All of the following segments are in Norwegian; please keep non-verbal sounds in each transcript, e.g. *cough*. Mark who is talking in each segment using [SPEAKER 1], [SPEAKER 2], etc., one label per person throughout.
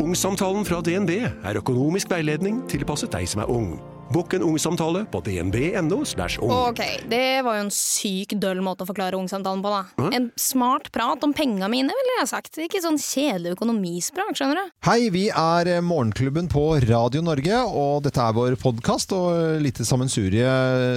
[SPEAKER 1] Ungsamtalen fra DNB er økonomisk veiledning tilpasset deg som er ung. Bokk en ungsamtale på dnb.no. slash ung.
[SPEAKER 2] Ok, det var jo en syk døll måte å forklare ungsamtalen på, da. En smart prat om penga mine, ville jeg sagt. Ikke sånn kjedelig økonomisprat, skjønner du.
[SPEAKER 3] Hei, vi er eh, Morgenklubben på Radio Norge, og dette er vår podkast og litt sammensurie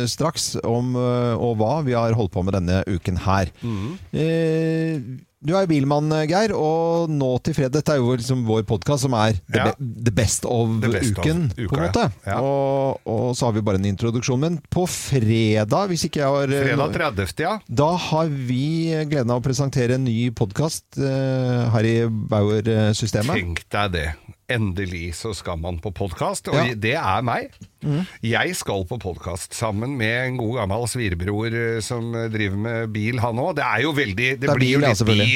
[SPEAKER 3] straks om eh, og hva vi har holdt på med denne uken her.
[SPEAKER 4] Mhm.
[SPEAKER 3] Eh, Du er jo bilmann, eh, Geir, og nå til fredag Dette er jo liksom vår podkast som er the,
[SPEAKER 4] Ja.
[SPEAKER 3] be the best of
[SPEAKER 4] The best of
[SPEAKER 3] uken,
[SPEAKER 4] uka,
[SPEAKER 3] på en måte.
[SPEAKER 4] ja. Ja.
[SPEAKER 3] Og, og så har vi bare en introduksjon. Men på fredag, hvis ikke jeg har eh,
[SPEAKER 4] Fredag 30. ja.
[SPEAKER 3] da har vi gleden av å presentere en ny podkast her i Bauer-systemet.
[SPEAKER 4] Tenk deg det. Endelig så skal man på podkast, og
[SPEAKER 3] Ja. Mm.
[SPEAKER 4] det er meg. Jeg skal på podkast sammen med en god gammel svirebror eh, som driver med bil, han òg. Det er jo veldig Det,
[SPEAKER 3] er
[SPEAKER 4] blir
[SPEAKER 3] bil,
[SPEAKER 4] jo
[SPEAKER 3] ja,
[SPEAKER 4] litt
[SPEAKER 3] selvfølgelig.
[SPEAKER 4] bil,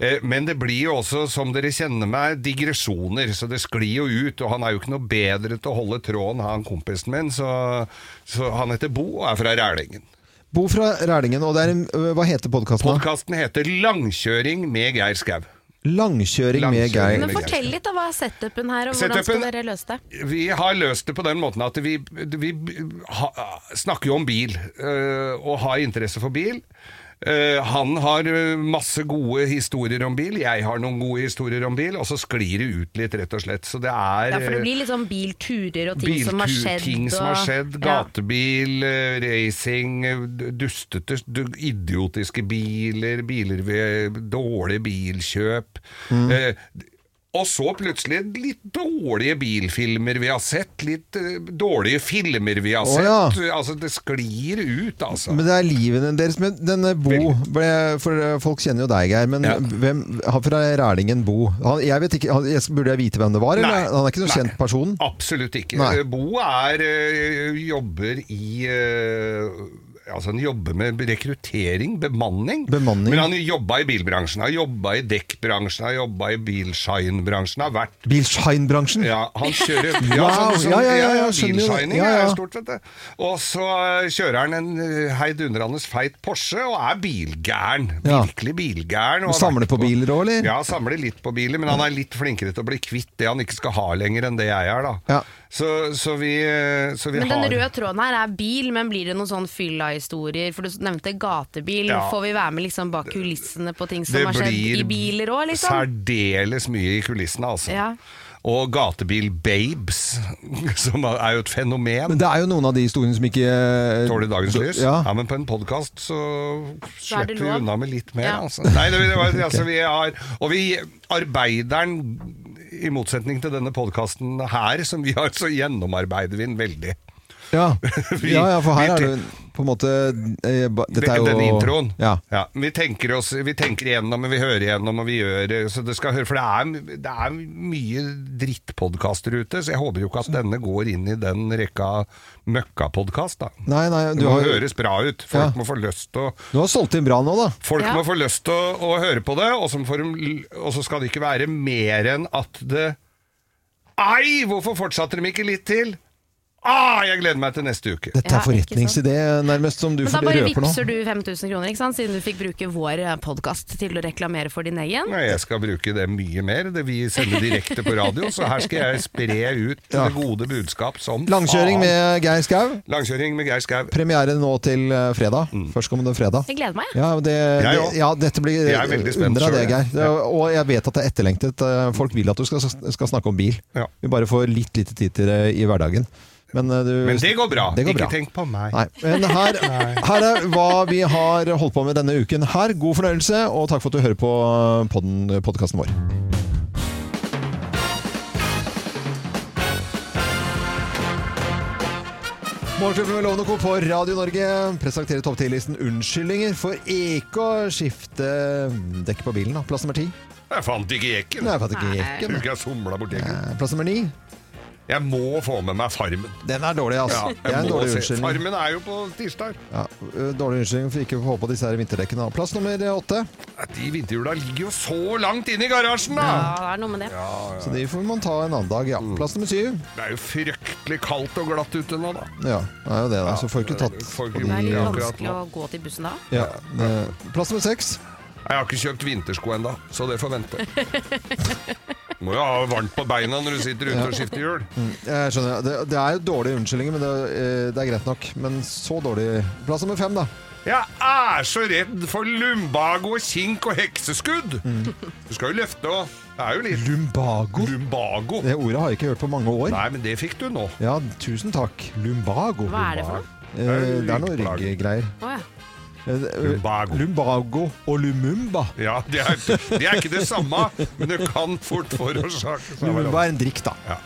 [SPEAKER 4] Eh, men det blir jo også, som dere kjenner meg, digresjoner. Så det sklir jo ut, og han er jo ikke noe bedre til å holde tråden, han kompisen min. Så, så han heter Bo og er fra Rælingen.
[SPEAKER 3] Bo fra Rælingen, og det er en, ø, hva heter podkasten? da?
[SPEAKER 4] Podkasten heter Langkjøring med Geir Skau.
[SPEAKER 3] Langkjøring med
[SPEAKER 4] Langkjøring
[SPEAKER 3] Geir.
[SPEAKER 4] med
[SPEAKER 5] Men fortell litt, da. Hva er setupen her, og hvordan skal
[SPEAKER 4] Setupen-
[SPEAKER 5] dere løse det?
[SPEAKER 4] Vi har løst det på den måten at vi, vi ha, snakker jo om bil, øh, og har interesse for bil. Øh, han har øh, masse gode historier om bil, jeg har noen gode historier om bil, og så sklir det ut litt, rett og slett. Så det er
[SPEAKER 5] Ja, for det
[SPEAKER 4] øh,
[SPEAKER 5] blir litt sånn bilturer og ting som har
[SPEAKER 4] Biltur,
[SPEAKER 5] skjedd.
[SPEAKER 4] ting som har
[SPEAKER 5] og-
[SPEAKER 4] skjedd,
[SPEAKER 5] Ja.
[SPEAKER 4] gatebil, eh, racing, eh, d- dustete, du- idiotiske biler, biler ved dårlige bilkjøp.
[SPEAKER 3] Mm.
[SPEAKER 4] Eh, og så plutselig litt dårlige bilfilmer vi har sett, litt eh, dårlige filmer vi har
[SPEAKER 3] Å,
[SPEAKER 4] sett.
[SPEAKER 3] ja.
[SPEAKER 4] Altså, det sklir ut, altså.
[SPEAKER 3] Men det er livene deres. Men denne Bo
[SPEAKER 4] Veldig.
[SPEAKER 3] ble, For ø, folk kjenner jo deg, Geir. Men
[SPEAKER 4] Ja.
[SPEAKER 3] hvem Han fra Rælingen, Bo han, jeg vet ikke, han, jeg, Burde jeg vite hvem det var? Eller? Han er ikke noen
[SPEAKER 4] nei.
[SPEAKER 3] kjent person?
[SPEAKER 4] Absolutt ikke. Eh,
[SPEAKER 3] Nei.
[SPEAKER 4] Bo er øh, jobber i øh, Altså Han jobber med rekruttering, bemanning.
[SPEAKER 3] Bemanning.
[SPEAKER 4] Men han jobba i bilbransjen, har jobba i dekkbransjen, har jobba i bilshine-bransjen. Har vært
[SPEAKER 3] Bilshine-bransjen?
[SPEAKER 4] ja, han kjører
[SPEAKER 3] Wow,
[SPEAKER 4] sånn- sånn-
[SPEAKER 3] ja, ja, ja, jeg skjønner jo det.
[SPEAKER 4] Bilshining
[SPEAKER 3] Ja, ja.
[SPEAKER 4] er stort, vet du. Og så eh, kjører han en eh, heidundrende feit Porsche og er bilgæren.
[SPEAKER 3] Ja.
[SPEAKER 4] Virkelig bilgæren. og
[SPEAKER 3] Og
[SPEAKER 4] har
[SPEAKER 3] samler
[SPEAKER 4] vært
[SPEAKER 3] på biler også, eller?
[SPEAKER 4] Ja, samler litt på biler, men han er litt flinkere til å bli kvitt det han ikke skal ha lenger enn det jeg er, da.
[SPEAKER 3] Ja.
[SPEAKER 4] Så, så vi, eh, så vi
[SPEAKER 5] Men
[SPEAKER 4] har
[SPEAKER 5] den røde tråden her er bil, men blir det noen sånn fylla-historier? For du nevnte gatebil.
[SPEAKER 4] Ja.
[SPEAKER 5] Får vi være med liksom bak kulissene på ting som
[SPEAKER 4] Det
[SPEAKER 5] har skjedd
[SPEAKER 4] blir
[SPEAKER 5] i biler òg, liksom?
[SPEAKER 4] Særdeles mye i kulissene, altså.
[SPEAKER 5] Ja.
[SPEAKER 4] Og gatebil-babes, *laughs* som er jo et fenomen.
[SPEAKER 3] Men det er jo noen av de historiene som ikke ø,
[SPEAKER 4] Tåler dagens
[SPEAKER 3] d-
[SPEAKER 4] lys?
[SPEAKER 3] Eh, Ja.
[SPEAKER 4] Ja, men på en podkast så
[SPEAKER 5] Så er det
[SPEAKER 4] slipper vi
[SPEAKER 5] lov.
[SPEAKER 4] unna med litt mer,
[SPEAKER 5] Ja.
[SPEAKER 4] altså. Nei, det,
[SPEAKER 3] *laughs*
[SPEAKER 4] det var, altså vi har, og vi, arbeideren, i motsetning til denne podkasten her, som vi har, så gjennomarbeider vi den veldig.
[SPEAKER 3] Ja.
[SPEAKER 4] *laughs* Vi-
[SPEAKER 3] ja, ja, for her
[SPEAKER 4] vi
[SPEAKER 3] er det
[SPEAKER 4] te-
[SPEAKER 3] jo på en måte ø, ba- Dette er jo
[SPEAKER 4] Denne introen.
[SPEAKER 3] Ja.
[SPEAKER 4] vi, tenker oss, vi tenker igjennom, og vi hører igjennom, og vi gjør det, så det skal høre, for det er, det er mye drittpodkaster ute, så jeg håper jo ikke at denne går inn i den rekka møkkapodkast, da.
[SPEAKER 3] Nei, nei,
[SPEAKER 4] Det
[SPEAKER 3] du
[SPEAKER 4] må
[SPEAKER 3] har,
[SPEAKER 4] høres bra ut. Folk
[SPEAKER 3] Ja.
[SPEAKER 4] må få lyst til å
[SPEAKER 3] du har solgt inn bra nå, da.
[SPEAKER 4] Folk
[SPEAKER 5] Ja.
[SPEAKER 4] må få lyst til å, å høre på det, og så, får de, og så skal det ikke være mer enn at det Ei, hvorfor fortsatte de ikke litt til? Ah, jeg gleder meg til neste uke.
[SPEAKER 3] Dette
[SPEAKER 5] Ja,
[SPEAKER 3] er forretningsidé, nærmest, som du
[SPEAKER 5] Men da
[SPEAKER 3] får-
[SPEAKER 5] bare
[SPEAKER 3] røper nå.
[SPEAKER 5] vippser du 5000 kroner, ikke sant? siden du fikk bruke vår podkast til å reklamere for din egen.
[SPEAKER 4] Nei, jeg skal bruke det mye mer. Det vi sender direkte på radio, så her skal jeg spre ut det gode budskap som
[SPEAKER 3] Langkjøring
[SPEAKER 4] faen.
[SPEAKER 3] med Geir Skau.
[SPEAKER 4] Langkjøring med Geir Skau.
[SPEAKER 3] Premiere nå til eh, fredag. Førstkommende fredag.
[SPEAKER 5] Jeg gleder meg.
[SPEAKER 3] Ja, det,
[SPEAKER 4] Mm. Jeg
[SPEAKER 3] det,
[SPEAKER 4] òg.
[SPEAKER 3] ja, dette blir
[SPEAKER 4] Jeg er veldig spent
[SPEAKER 3] under av det,
[SPEAKER 4] selv,
[SPEAKER 3] Geir.
[SPEAKER 4] jeg.
[SPEAKER 3] Det- Og jeg vet at det er etterlengtet. Eh, Folk vil at du skal, skal snakke om bil.
[SPEAKER 4] Ja.
[SPEAKER 3] Vi bare får litt lite tid til det i hverdagen. Men, eh, du,
[SPEAKER 4] Men det går bra.
[SPEAKER 3] Det går bra.
[SPEAKER 4] ikke tenk på meg.
[SPEAKER 3] Nei. Men her,
[SPEAKER 4] *laughs*
[SPEAKER 3] her er hva vi har holdt på med denne uken her. God fornøyelse, og takk for at du hører på eh, podden- podkasten vår. Morgenklubben med Lovende Co. på Radio Norge presenterer topp 10-listen unnskyldninger for ikke å skifte dekk på bilen. Da. Plass nummer ti.
[SPEAKER 4] Jeg fant ikke jekken.
[SPEAKER 3] Nei, jeg fant ikke
[SPEAKER 5] Nei.
[SPEAKER 4] Jeg
[SPEAKER 3] jekken.
[SPEAKER 4] tror ikke jeg somla bort jekken.
[SPEAKER 3] Eh, Plass nummer ni.
[SPEAKER 4] Jeg må få med meg Farmen.
[SPEAKER 3] Den er dårlig,
[SPEAKER 4] Ja,
[SPEAKER 3] altså. det er
[SPEAKER 4] jeg
[SPEAKER 3] en
[SPEAKER 4] må
[SPEAKER 3] dårlig
[SPEAKER 4] se.
[SPEAKER 3] unnskyldning.
[SPEAKER 4] Farmen er jo på tirsdag.
[SPEAKER 3] Ja, ø, dårlig unnskyldning for ikke å få på disse her vinterdekkene. da. Plass nummer åtte.
[SPEAKER 4] Ja, De vinterhjula ligger jo så langt inne i garasjen, da!
[SPEAKER 5] Ja, det er noe med det.
[SPEAKER 3] Så de får man ta en annen dag, ja. Plass nummer syv.
[SPEAKER 4] Det er jo fryktelig kaldt og glatt ute nå, da.
[SPEAKER 3] Ja, det er jo det, da. Så får ikke tatt
[SPEAKER 4] Får
[SPEAKER 3] på
[SPEAKER 4] ikke-
[SPEAKER 5] Det er
[SPEAKER 3] de
[SPEAKER 5] litt
[SPEAKER 4] Ja, akkurat
[SPEAKER 5] vanskelig å
[SPEAKER 4] nå.
[SPEAKER 5] gå til bussen da.
[SPEAKER 3] ja. eh, Plass nummer seks.
[SPEAKER 4] Jeg har ikke kjøpt vintersko ennå, så det får vente. Må jo ha varmt på beina når du sitter ute og skifter hjul.
[SPEAKER 3] Jeg skjønner, det, det er jo dårlige unnskyldninger, men det, eh, det er greit nok. Men så dårlig Plass nummer fem, da.
[SPEAKER 4] Jeg er så redd for lumbago, kink og hekseskudd! Du skal jo løfte og Det er jo litt
[SPEAKER 3] Lumbago.
[SPEAKER 4] lumbago.
[SPEAKER 3] Det ordet har jeg ikke hørt på mange år.
[SPEAKER 4] Nei, men det fikk du nå.
[SPEAKER 3] Ja, tusen takk. Lumbago.
[SPEAKER 5] Hva er det for noe?
[SPEAKER 3] Eh, Det er noe
[SPEAKER 4] Ryggplager.
[SPEAKER 3] ryggegreier.
[SPEAKER 5] Å, ja.
[SPEAKER 3] Eh, det-
[SPEAKER 4] Lumbago.
[SPEAKER 3] Lumbago og Lumumba.
[SPEAKER 4] Ja, det er, det er ikke det samme, men det kan fort forårsake
[SPEAKER 3] Lumumba
[SPEAKER 4] samme.
[SPEAKER 3] er en drikk, da.
[SPEAKER 4] Ja.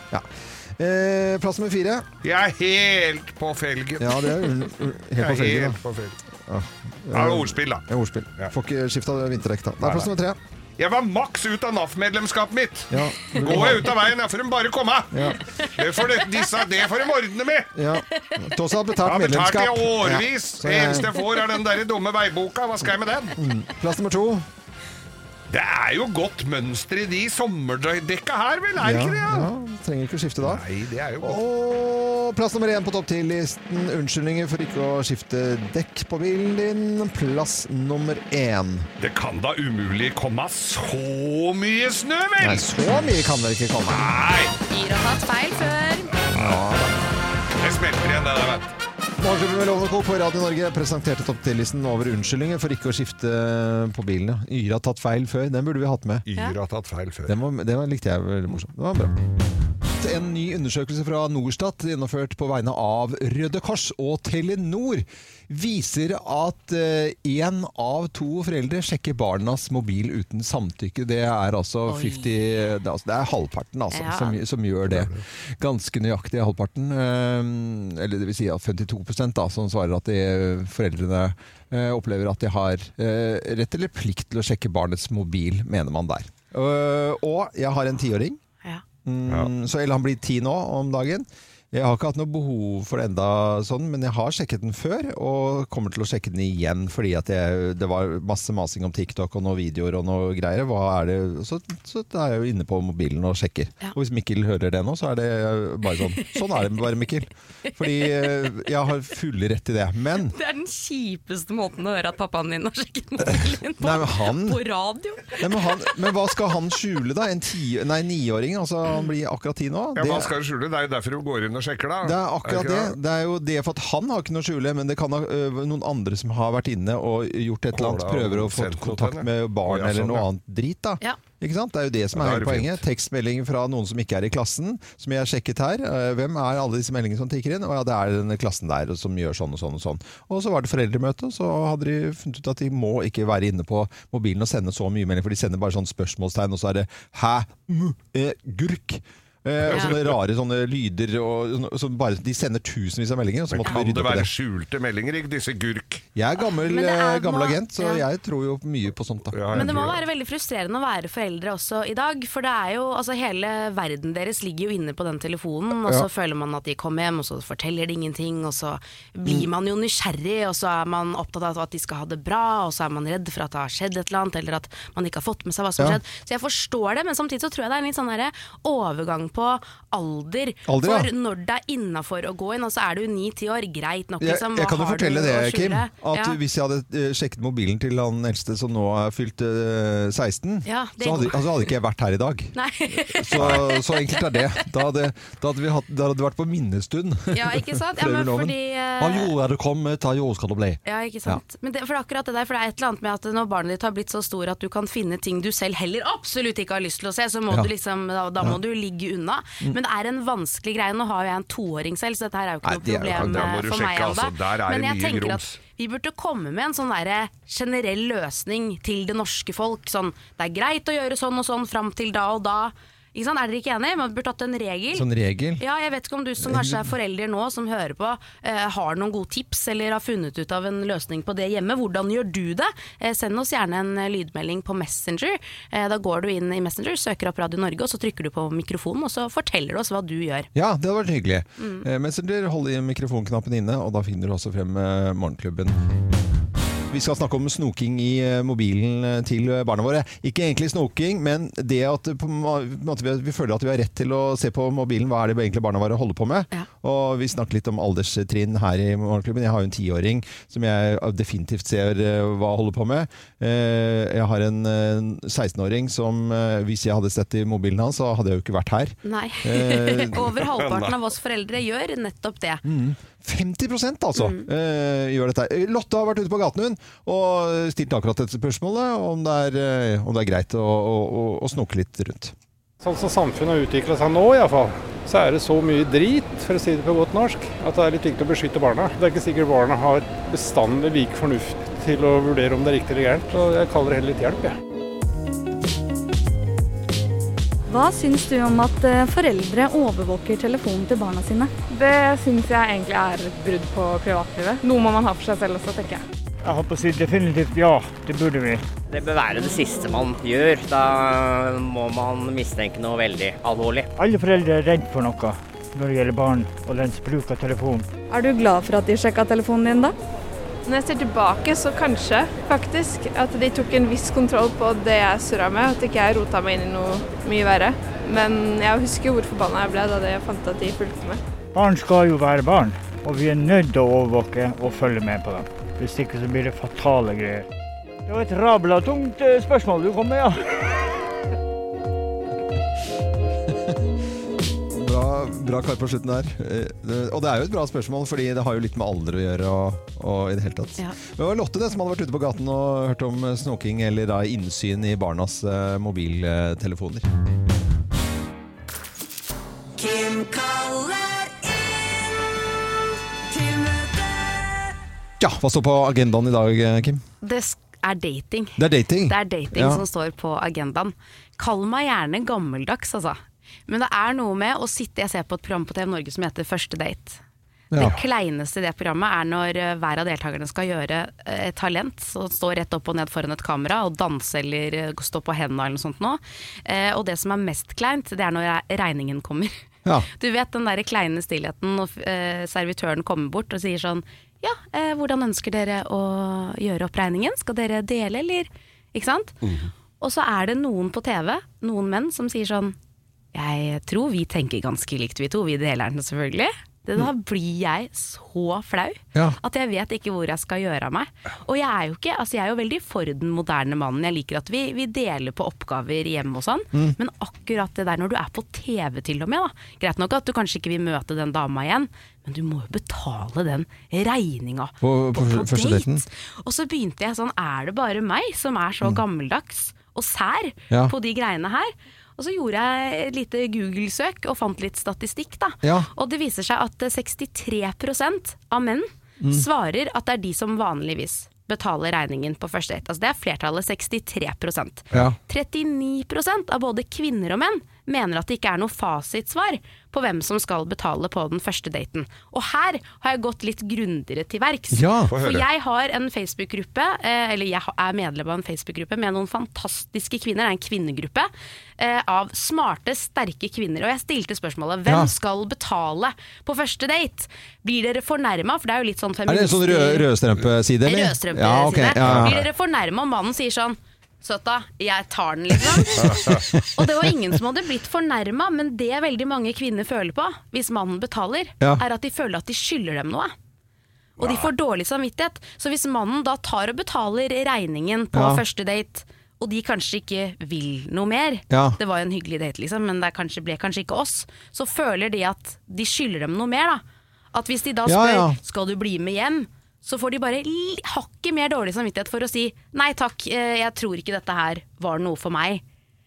[SPEAKER 3] Ja. Eh, plass nummer fire.
[SPEAKER 4] Jeg er helt på felgen.
[SPEAKER 3] Ja, det er un- un- helt på
[SPEAKER 4] Jeg er
[SPEAKER 3] felgen. da.
[SPEAKER 4] helt på felgen. Det er jo ordspill, da.
[SPEAKER 3] Det er ordspill.
[SPEAKER 4] Ja.
[SPEAKER 3] Får ikke skifta vinterdekk, da. Det er plass nummer tre.
[SPEAKER 4] Jeg var maks ut av NAF-medlemskapet mitt!
[SPEAKER 3] Ja.
[SPEAKER 4] Gå jeg ut av veien, da får de bare komme!
[SPEAKER 3] Ja.
[SPEAKER 4] Det får de, disse, det får de ordne med!
[SPEAKER 3] Ja. Tross alt
[SPEAKER 4] Jeg
[SPEAKER 3] betalt
[SPEAKER 4] har betalt
[SPEAKER 3] medlemskap.
[SPEAKER 4] i årevis!
[SPEAKER 3] Ja. Så
[SPEAKER 4] Det eneste
[SPEAKER 3] jeg- Mm.
[SPEAKER 4] jeg får, er den der dumme veiboka. Hva skal jeg med den?
[SPEAKER 3] Plass nummer to.
[SPEAKER 4] Det er jo godt mønster i de sommerdekka her, vel? Er det
[SPEAKER 3] Ja,
[SPEAKER 4] ikke det?
[SPEAKER 3] ja,
[SPEAKER 4] Ja?
[SPEAKER 3] trenger ikke å skifte da.
[SPEAKER 4] Nei, det er jo godt.
[SPEAKER 3] Og plass nummer én på topp 10-listen. Unnskyldninger for ikke å skifte dekk på bilen din. Plass nummer én.
[SPEAKER 4] Det kan da umulig komme så mye snø,
[SPEAKER 3] Nei,
[SPEAKER 4] vel?
[SPEAKER 3] så mye kan dere ikke komme.
[SPEAKER 4] Nei,
[SPEAKER 5] Gir har tatt feil før.
[SPEAKER 4] det smelter igjen, det der, vet du.
[SPEAKER 3] Morgenklubben med Lovende Co. på Radio Norge presenterte topp 10-listen over unnskyldninger for ikke å skifte på bilen. ja. Yra har tatt feil før. Den burde vi hatt med.
[SPEAKER 4] Yr har tatt feil før.
[SPEAKER 3] Den var, det var, likte jeg veldig morsomt. Det var bra. En ny undersøkelse fra Norstat, gjennomført på vegne av Røde Kors og Telenor, viser at én av to foreldre sjekker barnas mobil uten samtykke. Det er altså
[SPEAKER 5] Oi.
[SPEAKER 3] 50 det er, altså, det er halvparten altså,
[SPEAKER 5] Ja.
[SPEAKER 3] som, som gjør det. Ganske nøyaktig halvparten. eh, Eller det vil si at 52 da, som svarer at de, foreldrene eh, opplever at de har eh, rett eller plikt til å sjekke barnets mobil, mener man der. Eh, Og jeg har en tiåring.
[SPEAKER 5] Ja.
[SPEAKER 3] Mm, så, eller han blir ti nå om dagen. Jeg har ikke hatt noe behov for det enda sånn, men jeg har sjekket den før, og kommer til å sjekke den igjen, fordi at jeg, det var masse masing om TikTok og noen videoer og noe greier. Hva er det? Så, så da er jeg jo inne på mobilen og sjekker.
[SPEAKER 5] Ja.
[SPEAKER 3] Og hvis Mikkel hører det nå, så er det bare sånn. Sånn er det bare, Mikkel. Fordi eh, jeg har full rett til det. Men
[SPEAKER 5] Det er den kjipeste måten å høre at pappaen din har sjekket mobilen på.
[SPEAKER 3] Nei, men han-
[SPEAKER 5] På radio.
[SPEAKER 3] Nei, men, han, men hva skal han skjule, da? En ti, nei, niåring? Altså, han blir akkurat ti nå.
[SPEAKER 4] Ja,
[SPEAKER 3] Det-
[SPEAKER 4] hva skal du skjule? Det er jo derfor du går inn og sjekker, da.
[SPEAKER 3] Det er akkurat
[SPEAKER 4] ikke
[SPEAKER 3] det. Det er jo det for at han har ikke noe å skjule, men det kan ha ø, noen andre som har vært inne og gjort et eller annet,
[SPEAKER 4] Kåla og
[SPEAKER 3] prøver å få
[SPEAKER 4] sendt noe
[SPEAKER 3] kontakt
[SPEAKER 4] til henne.
[SPEAKER 3] med barn
[SPEAKER 4] Å, ja,
[SPEAKER 3] eller
[SPEAKER 4] sånn,
[SPEAKER 3] noe
[SPEAKER 4] ja.
[SPEAKER 3] annet drit. da.
[SPEAKER 5] Ja.
[SPEAKER 3] Ikke sant? Det er jo det som
[SPEAKER 4] Ja,
[SPEAKER 3] er
[SPEAKER 4] da er
[SPEAKER 3] hele
[SPEAKER 4] det fint.
[SPEAKER 3] poenget. Tekstmelding fra noen som ikke er i klassen, som jeg har sjekket her. Eh, Hvem er alle disse meldingene som tikker inn? Å ja, det er denne klassen der som gjør sånn og sånn og sånn. Og så var det foreldremøte, så hadde de funnet ut at de må ikke være inne på mobilen og sende så mye melding, for de sender bare sånn spørsmålstegn, og så er det hæ, mm, eh, gurk. Eh, og
[SPEAKER 5] Ja.
[SPEAKER 3] sånne rare sånne lyder og, sånne- som bare, De sender tusenvis av meldinger. Og så
[SPEAKER 4] Men
[SPEAKER 3] måtte vi
[SPEAKER 4] kan
[SPEAKER 3] rydde opp
[SPEAKER 4] det
[SPEAKER 3] i det.
[SPEAKER 4] være skjulte meldinger, ikke disse gurk?
[SPEAKER 3] Jeg er gammel,
[SPEAKER 5] Men det er
[SPEAKER 3] eh, gammel
[SPEAKER 5] noe-
[SPEAKER 3] agent, så
[SPEAKER 5] ja.
[SPEAKER 3] jeg tror jo mye på sånt. da
[SPEAKER 4] Ja, jeg
[SPEAKER 5] Men det må
[SPEAKER 4] tror
[SPEAKER 5] være veldig frustrerende å være foreldre også i dag. For det er jo, altså hele verden deres ligger jo inne på den telefonen, og så
[SPEAKER 3] Ja.
[SPEAKER 5] føler man at de kommer hjem, og så forteller de ingenting, og så blir man jo nysgjerrig, og så er man opptatt av at de skal ha det bra, og så er man redd for at det har skjedd et eller annet, eller at man ikke har fått med seg hva som har
[SPEAKER 3] Ja.
[SPEAKER 5] skjedd. Så jeg forstår det, men samtidig så tror jeg det er en litt sånn derre overgang på alder.
[SPEAKER 3] Alder, ja.
[SPEAKER 5] for når det er innafor å gå inn, og så er du ni-ti år, greit nok,
[SPEAKER 3] Jeg,
[SPEAKER 5] liksom.
[SPEAKER 3] jeg
[SPEAKER 5] hva
[SPEAKER 3] kan jo
[SPEAKER 5] har du
[SPEAKER 3] fortelle det,
[SPEAKER 5] å skjule?
[SPEAKER 3] Kim. At
[SPEAKER 5] Ja.
[SPEAKER 3] Hvis jeg hadde eh, sjekket mobilen til han eldste som nå er fylt eh, 16,
[SPEAKER 5] Ja, det
[SPEAKER 3] så hadde,
[SPEAKER 5] går.
[SPEAKER 3] altså, hadde ikke jeg vært her i dag.
[SPEAKER 5] Nei.
[SPEAKER 3] Så, så enkelt er det. Da hadde, da hadde, vi, hatt, da hadde det vært på minnestund.
[SPEAKER 5] Ja, ikke sant?
[SPEAKER 3] *laughs*
[SPEAKER 5] Ja,
[SPEAKER 3] Prøver
[SPEAKER 5] men
[SPEAKER 3] loven.
[SPEAKER 5] fordi eh,
[SPEAKER 3] Av jorda du kom, ta jord skal du bli.
[SPEAKER 5] Ja, ikke sant. Men det, for det er akkurat det der, for det er et eller annet med at når barnet ditt har blitt så stor at du kan finne ting du selv heller absolutt ikke har lyst til å se, så må
[SPEAKER 3] Ja.
[SPEAKER 5] du liksom, da, da må du ligge unna. Men det er en vanskelig greie. Nå har jo jeg en toåring selv, så dette her er jo ikke
[SPEAKER 3] Nei, det er jo
[SPEAKER 5] noe
[SPEAKER 3] ikke-
[SPEAKER 5] problem
[SPEAKER 4] der må
[SPEAKER 5] eh,
[SPEAKER 4] du
[SPEAKER 5] for
[SPEAKER 4] sjekke,
[SPEAKER 5] meg ennå.
[SPEAKER 4] altså. Der er
[SPEAKER 5] Men
[SPEAKER 4] det
[SPEAKER 5] jeg
[SPEAKER 4] mye
[SPEAKER 5] tenker
[SPEAKER 4] grums.
[SPEAKER 5] at vi burde komme med en sånn der generell løsning til det norske folk. Sånn, det er greit å gjøre sånn og sånn fram til da og da. Ikke sant? Er dere ikke enige? Man burde hatt en regel.
[SPEAKER 3] Sånn regel.
[SPEAKER 5] Ja, jeg vet ikke om du som kanskje er forelder nå, som hører på, eh, har noen gode tips eller har funnet ut av en løsning på det hjemme. Hvordan gjør du det? Eh, send oss gjerne en eh, lydmelding på Messenger. Eh, da går du inn i Messenger, søker opp Radio Norge, og så trykker du på mikrofonen, og så forteller du oss hva du gjør.
[SPEAKER 3] Ja, det hadde vært hyggelig. Eh, Messenger, hold i mikrofonknappen inne, og da finner du også frem eh, morgenklubben. Vi skal snakke om snoking i eh, mobilen eh, til barna våre. Ikke egentlig snoking, men det at eh, på en må- på en måte vi vi føler at vi har rett til å se på mobilen. Hva er det egentlig barna våre holder på med?
[SPEAKER 5] Ja.
[SPEAKER 3] Og vi snakker litt om alderstrinn her i Morgenklubben. Jeg har jo en tiåring som jeg definitivt ser eh, hva holder på med. Eh, Jeg har en eh, 16-åring som eh, hvis jeg hadde sett i mobilen hans, så hadde jeg jo ikke vært her.
[SPEAKER 5] Nei.
[SPEAKER 3] Eh,
[SPEAKER 5] *laughs* Over halvparten av oss foreldre gjør nettopp det.
[SPEAKER 3] 50 altså, eh, gjør dette. her. Lotte har vært ute på gaten hun, og stilt akkurat dette spørsmålet, om det er, eh, om det er greit å, å, å, å snoke litt rundt.
[SPEAKER 6] Sånn som samfunnet har utvikla seg nå, i alle fall, så er det så mye drit, for å si det på godt norsk, at det er litt viktig å beskytte barna. Det er ikke sikkert barna har bestandig lik fornuft til å vurdere om det er riktig eller gærent. Så jeg kaller det heller litt hjelp, jeg.
[SPEAKER 7] Hva syns du om at eh, foreldre overvåker telefonen til barna sine?
[SPEAKER 8] Det syns jeg egentlig er et brudd på privatlivet. Noe må man ha for seg selv også, tenker jeg.
[SPEAKER 9] Jeg håper å si definitivt ja, det burde vi.
[SPEAKER 10] Det bør være det siste man gjør. Da må man mistenke noe veldig alvorlig.
[SPEAKER 9] Alle foreldre er redd for noe når det gjelder barn og dens bruk av telefon.
[SPEAKER 7] Er du glad for at de sjekka telefonen din, da?
[SPEAKER 8] Når jeg ser tilbake, så kanskje, faktisk, at de tok en viss kontroll på det jeg surra med. At ikke jeg rota meg inn i noe mye verre. Men jeg husker jo hvor forbanna jeg ble da jeg fant at de fulgte med.
[SPEAKER 9] Barn skal jo være barn, og vi er nødt til å overvåke og følge med på dem. Hvis ikke så blir det fatale greier. Det var et rabla tungt eh, spørsmål du kom med, ja.
[SPEAKER 3] Bra, bra kar på slutten der. Eh, det- Og det er jo et bra spørsmål, fordi det har jo litt med alder å gjøre. Og, og i Det hele tatt.
[SPEAKER 5] Ja.
[SPEAKER 3] Det var Lotte det som hadde vært ute på gaten og hørt om eh, snoking eller da innsyn i barnas eh, mobiltelefoner. Ja, Hva står på agendaen i dag, eh, Kim?
[SPEAKER 5] Det sk- er dating.
[SPEAKER 3] Det er dating.
[SPEAKER 5] Det er dating
[SPEAKER 3] Ja.
[SPEAKER 5] som står på agendaen. Kall meg gjerne gammeldags, altså. Men det er noe med å sitte Jeg ser på et program på TV Norge som heter Første date.
[SPEAKER 3] Ja.
[SPEAKER 5] Det kleineste i det programmet er når eh, hver av deltakerne skal gjøre eh, et talent. Så stå rett opp og ned foran et kamera og danse eller eh, stå på hendene eller noe sånt nå. Eh, Og det som er mest kleint, det er når re- regningen kommer. *laughs*
[SPEAKER 3] Ja.
[SPEAKER 5] Du vet den der kleine stillheten når eh, servitøren kommer bort og sier sånn Ja, eh, hvordan ønsker dere å gjøre opp regningen? Skal dere dele, eller? Ikke sant? Og så er det noen på TV, noen menn, som sier sånn Jeg tror vi tenker ganske likt, vi to. Vi deler den selvfølgelig. Det, da blir jeg så flau
[SPEAKER 3] Ja.
[SPEAKER 5] at jeg vet ikke hvor jeg skal gjøre av meg. Og jeg er jo ikke, altså jeg er jo veldig for den moderne mannen. Jeg liker at vi, vi deler på oppgaver hjemme og sånn.
[SPEAKER 3] Mm.
[SPEAKER 5] Men akkurat det der når du er på TV til og med, da. Greit nok at du kanskje ikke vil møte den dama igjen, men du må jo betale den regninga.
[SPEAKER 3] På- på første
[SPEAKER 5] date.
[SPEAKER 3] daten.
[SPEAKER 5] Og så begynte jeg sånn, er det bare meg som er så gammeldags og sær
[SPEAKER 3] Mm. Ja.
[SPEAKER 5] på de greiene her? Og så gjorde jeg et lite Google-søk og fant litt statistikk da.
[SPEAKER 3] Ja.
[SPEAKER 5] Og det viser seg at eh, 63 av menn svarer at det er de som vanligvis betaler regningen på første date. Altså det er flertallet 63
[SPEAKER 3] Ja.
[SPEAKER 5] 39 av både kvinner og menn mener at det ikke er noe fasitsvar på hvem som skal betale på den første daten. Og her har jeg gått litt grundigere til verks.
[SPEAKER 3] Ja.
[SPEAKER 4] Få høre.
[SPEAKER 5] For jeg har en Facebook-gruppe, eh, eller jeg ha- er medlem av en Facebook-gruppe med noen fantastiske kvinner, det er en kvinnegruppe, eh, av smarte, sterke kvinner. Og jeg stilte spørsmålet, hvem
[SPEAKER 3] Ja.
[SPEAKER 5] skal betale på første date? Blir dere fornærmet? For det er jo litt sånn
[SPEAKER 3] Er det en
[SPEAKER 5] feminister...
[SPEAKER 3] sånn rød, rødstrømpeside? eller?
[SPEAKER 5] Rødstrømpe
[SPEAKER 3] ja, ok,
[SPEAKER 5] sine.
[SPEAKER 3] Ja, ja.
[SPEAKER 5] Blir dere fornærma om mannen sier sånn Søtta, jeg tar den, liksom. og det var ingen som hadde blitt fornærma, men det veldig mange kvinner føler på hvis mannen betaler,
[SPEAKER 3] Ja.
[SPEAKER 5] er at de føler at de skylder dem noe. Og de får dårlig samvittighet. Så hvis mannen da tar og betaler regningen på
[SPEAKER 3] Ja.
[SPEAKER 5] første date, og de kanskje ikke vil noe mer
[SPEAKER 3] Ja.
[SPEAKER 5] Det var jo en hyggelig date, liksom, men det er kanskje, ble kanskje ikke oss. Så føler de at de skylder dem noe mer, da. At hvis de da
[SPEAKER 3] Ja,
[SPEAKER 5] spør
[SPEAKER 3] ja.
[SPEAKER 5] skal du bli med hjem? Så får de bare li- hakket mer dårlig samvittighet for å si nei takk, eh, jeg tror ikke dette her var noe for meg.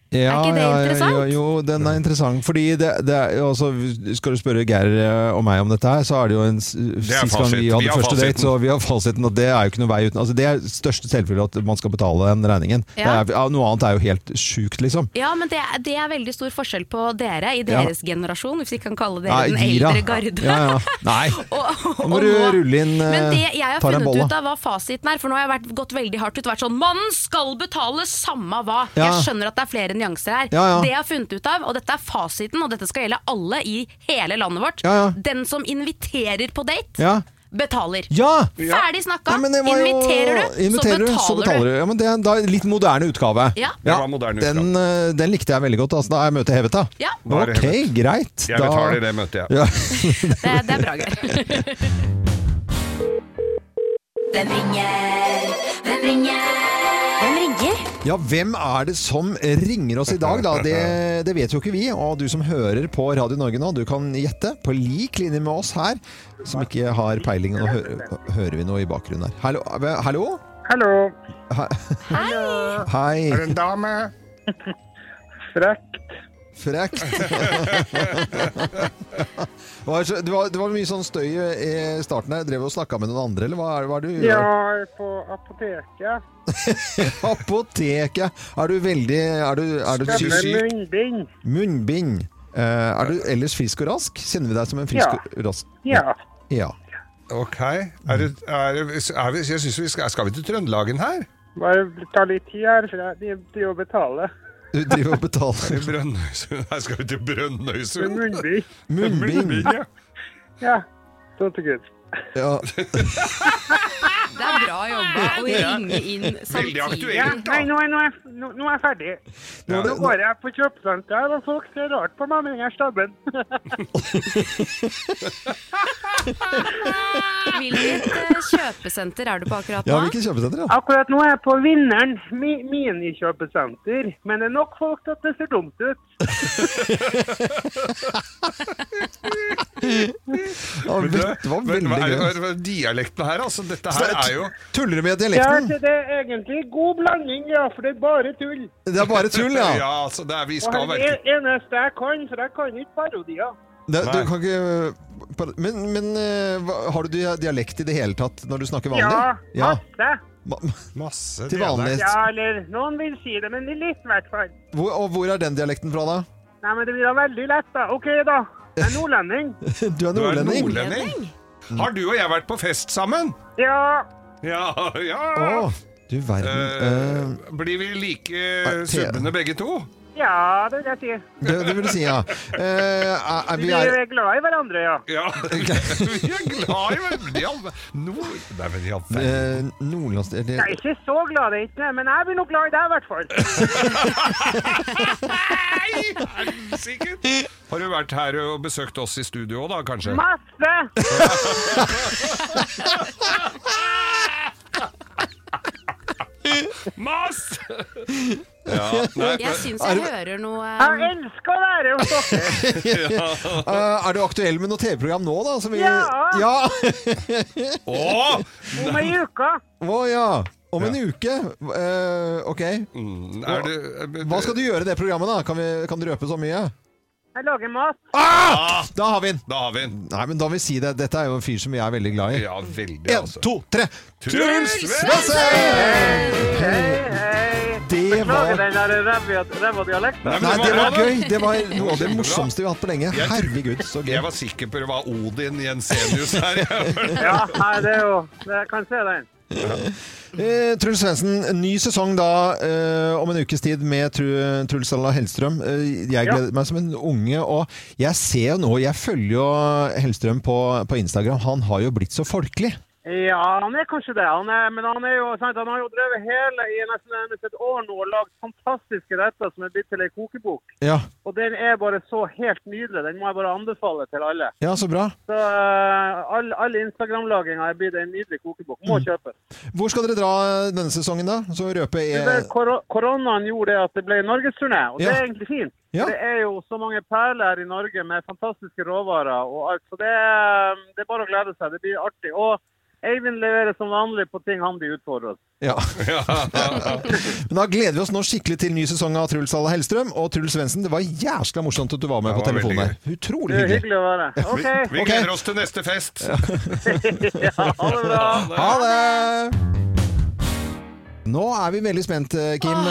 [SPEAKER 3] Ja,
[SPEAKER 5] ikke det
[SPEAKER 3] ja, ja,
[SPEAKER 5] interessant?
[SPEAKER 3] Jo, jo, den er interessant. Fordi det, det er, altså, skal du spørre Geir eh, og meg om dette her, så er det jo en s-
[SPEAKER 4] er
[SPEAKER 3] Sist gang vi
[SPEAKER 4] fasit.
[SPEAKER 3] hadde
[SPEAKER 4] Vi har
[SPEAKER 3] første date,
[SPEAKER 4] fasiten.
[SPEAKER 3] så vi har fasiten, og det er jo ikke noe vei uten. Altså, det er største selvfølge at man skal betale den regningen.
[SPEAKER 5] Ja.
[SPEAKER 3] Det er, ja, noe annet er jo helt sjukt, liksom.
[SPEAKER 5] Ja, men det, er- det er veldig stor forskjell på dere i
[SPEAKER 3] Ja.
[SPEAKER 5] deres generasjon, hvis vi kan kalle dere
[SPEAKER 3] Nei,
[SPEAKER 5] den
[SPEAKER 3] gi da.
[SPEAKER 5] eldre garde.
[SPEAKER 3] Ja, ja. Nei.
[SPEAKER 5] *laughs* Og-
[SPEAKER 3] Nå må
[SPEAKER 5] og
[SPEAKER 3] du rulle inn, eh,
[SPEAKER 5] Men det jeg har
[SPEAKER 3] tar en
[SPEAKER 5] funnet
[SPEAKER 3] bolle.
[SPEAKER 5] ut av hva fasiten er, for nå har jeg vært, gått veldig hardt ut vært sånn Mannen skal betale samme hva!
[SPEAKER 3] Ja.
[SPEAKER 5] Jeg skjønner at det er flere nyanser her.
[SPEAKER 3] Ja, ja.
[SPEAKER 5] Det jeg har funnet ut av, og dette er fasiten, og dette skal gjelde alle i hele landet vårt
[SPEAKER 3] Ja, ja.
[SPEAKER 5] Den som inviterer på date,
[SPEAKER 3] Ja.
[SPEAKER 5] betaler.
[SPEAKER 3] Ja!
[SPEAKER 5] Ferdig snakka!
[SPEAKER 3] Nei, men det var jo-
[SPEAKER 5] inviterer du,
[SPEAKER 3] inviterer du,
[SPEAKER 5] så betaler du.
[SPEAKER 3] Ja, men det er da en litt moderne utgave.
[SPEAKER 5] Ja.
[SPEAKER 4] Det var moderne
[SPEAKER 3] den, eh, den likte jeg veldig godt. Altså, da er møtet hevet, da.
[SPEAKER 5] Ja.
[SPEAKER 4] Da er det
[SPEAKER 3] Ok,
[SPEAKER 4] hevet.
[SPEAKER 3] greit.
[SPEAKER 4] Jeg
[SPEAKER 3] Da-
[SPEAKER 4] betaler det møtet, jeg.
[SPEAKER 3] Ja. *laughs*
[SPEAKER 5] Det, det er bra, Geir.
[SPEAKER 11] *laughs* Hvem ringer? Hvem ringer? Hvem ringer?
[SPEAKER 3] Ja, hvem er det som ringer oss i dag, da? Det, det vet jo ikke vi. Og du som hører på Radio Norge nå, du kan gjette på lik linje med oss her, som ikke har peiling. Nå hører, hører vi noe i bakgrunnen her. Hallo? Hallo?
[SPEAKER 12] Hallo.
[SPEAKER 3] *laughs* Hei.
[SPEAKER 12] Er det en dame? Frekt.
[SPEAKER 3] *laughs* Frekt. Det var, så- det, var, det var mye sånn støy i starten her. Drev du og snakka med noen andre, eller hva er, hva er det du
[SPEAKER 12] Ja,
[SPEAKER 3] gjør?
[SPEAKER 12] jeg er på apoteket.
[SPEAKER 3] Apoteket! Er du veldig Er du, er du
[SPEAKER 12] Skal med munnbind.
[SPEAKER 3] Munnbind. Eh, er du ellers frisk og rask? Kjenner vi deg som en frisk
[SPEAKER 4] Ja.
[SPEAKER 3] og rask?
[SPEAKER 12] Ja.
[SPEAKER 3] Ja.
[SPEAKER 4] Ok. Er det, er det, er vi, jeg synes vi skal, skal vi til Trøndelagen her?
[SPEAKER 12] Bare ta litt tid her, for jeg de- de å betale.
[SPEAKER 3] Du driver og betaler.
[SPEAKER 4] *laughs* Brønnøysund? Her skal vi til
[SPEAKER 12] Med
[SPEAKER 4] Brønnøysund.
[SPEAKER 12] munnbind.
[SPEAKER 4] Munnbind, ja.
[SPEAKER 12] Ja. Sånn til Gud.
[SPEAKER 3] Ja.
[SPEAKER 5] Det er bra jobba å ringe inn
[SPEAKER 4] Veldig
[SPEAKER 5] samtidig.
[SPEAKER 12] Ja, nei, nå er, nå, er, nå, nå er jeg ferdig.
[SPEAKER 3] Nå er
[SPEAKER 12] Nå
[SPEAKER 3] det-
[SPEAKER 12] går jeg på kjøpesenter, og folk ser rart på meg med den her stabben. *laughs*
[SPEAKER 5] Hvilket eh, kjøpesenter er du på akkurat
[SPEAKER 3] ja,
[SPEAKER 5] nå?
[SPEAKER 3] hvilket kjøpesenter? da?
[SPEAKER 12] Akkurat nå er jeg på Vinneren mi, minikjøpesenter, men det er nok folk til at det ser dumt ut.
[SPEAKER 3] Ja,
[SPEAKER 4] Men
[SPEAKER 3] vet-
[SPEAKER 4] du,
[SPEAKER 3] det var
[SPEAKER 4] men
[SPEAKER 3] veldig
[SPEAKER 4] hva er det-
[SPEAKER 3] gøy.
[SPEAKER 4] hva er det- Dialekten her, altså. Dette her er jo
[SPEAKER 3] Tuller du med
[SPEAKER 12] Ja, altså,
[SPEAKER 3] dialekten?
[SPEAKER 12] det er egentlig god blanding, ja, for det er bare tull.
[SPEAKER 3] Det er bare tull, ja.
[SPEAKER 4] Ja, altså, det er, vi
[SPEAKER 12] Og
[SPEAKER 4] skal
[SPEAKER 12] det er
[SPEAKER 4] være
[SPEAKER 12] det eneste jeg kan, for jeg kan ikke parodier.
[SPEAKER 3] Det, du kan ikke Men, men eh, hva- har du dia- dialekt i det hele tatt når du snakker
[SPEAKER 12] Ja,
[SPEAKER 3] vanlig?
[SPEAKER 12] masse.
[SPEAKER 3] Ma-
[SPEAKER 4] masse
[SPEAKER 3] Til vanlig.
[SPEAKER 12] Ja, eller noen vil si det, men det er litt i hvert fall.
[SPEAKER 3] Hvor, og hvor er den dialekten fra, da?
[SPEAKER 12] Nei, men det blir da veldig lett, da. OK, da. Jeg er nordlending.
[SPEAKER 3] *laughs* Du er
[SPEAKER 4] Du er
[SPEAKER 3] nordlending?
[SPEAKER 4] nordlending. Har du og jeg vært på fest sammen?
[SPEAKER 12] Ja.
[SPEAKER 4] Ja,
[SPEAKER 3] Å, Mm,
[SPEAKER 4] ja. du
[SPEAKER 3] verden.
[SPEAKER 4] Eh, blir vi like
[SPEAKER 3] te-
[SPEAKER 4] subbende begge to?
[SPEAKER 12] Ja, det vil jeg si.
[SPEAKER 3] Det, det vil du si, ja. Eh, er, er,
[SPEAKER 12] Vi
[SPEAKER 3] vi er,
[SPEAKER 12] er glad i hverandre, ja.
[SPEAKER 3] *laughs*
[SPEAKER 4] Ja. vi er glad i hverandre. i all ver- Nord... Nei, men i all verden.
[SPEAKER 3] eh, nordlands...
[SPEAKER 12] Jeg er
[SPEAKER 3] Eller,
[SPEAKER 12] ikke så glad i det, men jeg blir nok glad i deg, i hvert fall.
[SPEAKER 4] Nei, er du sikker? Har du vært her og besøkt oss i studio òg, da, kanskje?
[SPEAKER 12] Masse!
[SPEAKER 4] Mas! Ja, nei,
[SPEAKER 5] Jeg syns jeg hører noe eh,
[SPEAKER 12] Jeg elsker å være hos dere.
[SPEAKER 3] Eh, er du aktuell med noe TV-program nå, da? Som vi,
[SPEAKER 12] Ja.
[SPEAKER 3] ja. *laughs*
[SPEAKER 4] Åh!
[SPEAKER 12] Om ei uke.
[SPEAKER 3] Å ja. Om en uke. Eh, ok.
[SPEAKER 4] Mm, Er det
[SPEAKER 3] Hva skal du gjøre i det programmet, da? Kan, vi, kan du røpe så mye?
[SPEAKER 12] Jeg lager mat.
[SPEAKER 4] ah!
[SPEAKER 3] Da har vi den!
[SPEAKER 4] Da har vi den.
[SPEAKER 3] Nei, men da vil vi si det. Dette er jo en fyr som jeg er veldig glad i.
[SPEAKER 4] Ja, veldig,
[SPEAKER 3] En,
[SPEAKER 4] altså.
[SPEAKER 3] to, tre!
[SPEAKER 4] Truls
[SPEAKER 3] Svendsen!
[SPEAKER 12] Hei,
[SPEAKER 3] Det
[SPEAKER 12] Lager
[SPEAKER 3] var
[SPEAKER 12] den der ræva- ræva-dialekten.
[SPEAKER 4] Nei, men
[SPEAKER 3] Nei, det var
[SPEAKER 4] bra, da.
[SPEAKER 3] gøy. Det var noe av det morsomste vi har hatt på lenge.
[SPEAKER 4] Jeg-
[SPEAKER 3] Herregud, så gøy.
[SPEAKER 4] Jeg var sikker på det var Odin Jensenius her.
[SPEAKER 3] *laughs*
[SPEAKER 12] Ja, nei, det er jo Jeg kan se den.
[SPEAKER 3] Eh, Truls Svendsen, ny sesong da eh, om en ukes tid med Tru, Truls Alla Hellstrøm. Eh, jeg gleder meg som en unge, og jeg ser jo nå Jeg følger jo Hellstrøm på, på Instagram. Han har jo blitt så folkelig.
[SPEAKER 12] Ja, han er kanskje det. Han er, men han er jo sant, han har jo drevet hele i nesten nærmest et år nå og lagd fantastiske retter som er blitt til ei kokebok.
[SPEAKER 3] Ja,
[SPEAKER 12] Og den er bare så helt nydelig. Den må jeg bare anbefale til alle.
[SPEAKER 3] ja så bra.
[SPEAKER 12] Så eh, all, all Instagram-laginga er blitt en nydelig kokebok.
[SPEAKER 3] Mm.
[SPEAKER 12] Må kjøpes.
[SPEAKER 3] Hvor skal dere dra denne sesongen, da? Så eh, røper
[SPEAKER 12] Du,
[SPEAKER 3] jeg
[SPEAKER 12] det- kor- Koronaen gjorde det at det ble norgesturné, og det
[SPEAKER 3] Ja.
[SPEAKER 12] er egentlig fint.
[SPEAKER 3] Ja.
[SPEAKER 12] Det er jo så mange perler i Norge med fantastiske råvarer og alt, så det er, det er bare å glede seg. Det blir artig. Og Eivind leverer som vanlig på ting han blir utfordret.
[SPEAKER 3] ja. Men da gleder vi oss nå skikkelig til ny sesong av Truls Alla Hellstrøm. Og Truls Svendsen, det var jæskla morsomt at du var med
[SPEAKER 4] Det
[SPEAKER 3] på
[SPEAKER 4] var
[SPEAKER 3] telefonen
[SPEAKER 4] veldig
[SPEAKER 3] her. Utrolig
[SPEAKER 12] Det
[SPEAKER 3] hyggelig.
[SPEAKER 12] er hyggelig å
[SPEAKER 3] *laughs*
[SPEAKER 12] være her. OK,
[SPEAKER 4] Vi
[SPEAKER 3] Ok.
[SPEAKER 4] gleder oss til neste fest.
[SPEAKER 12] ja, ha det bra.
[SPEAKER 3] Ha det! Nå er vi veldig spent, eh, Kim.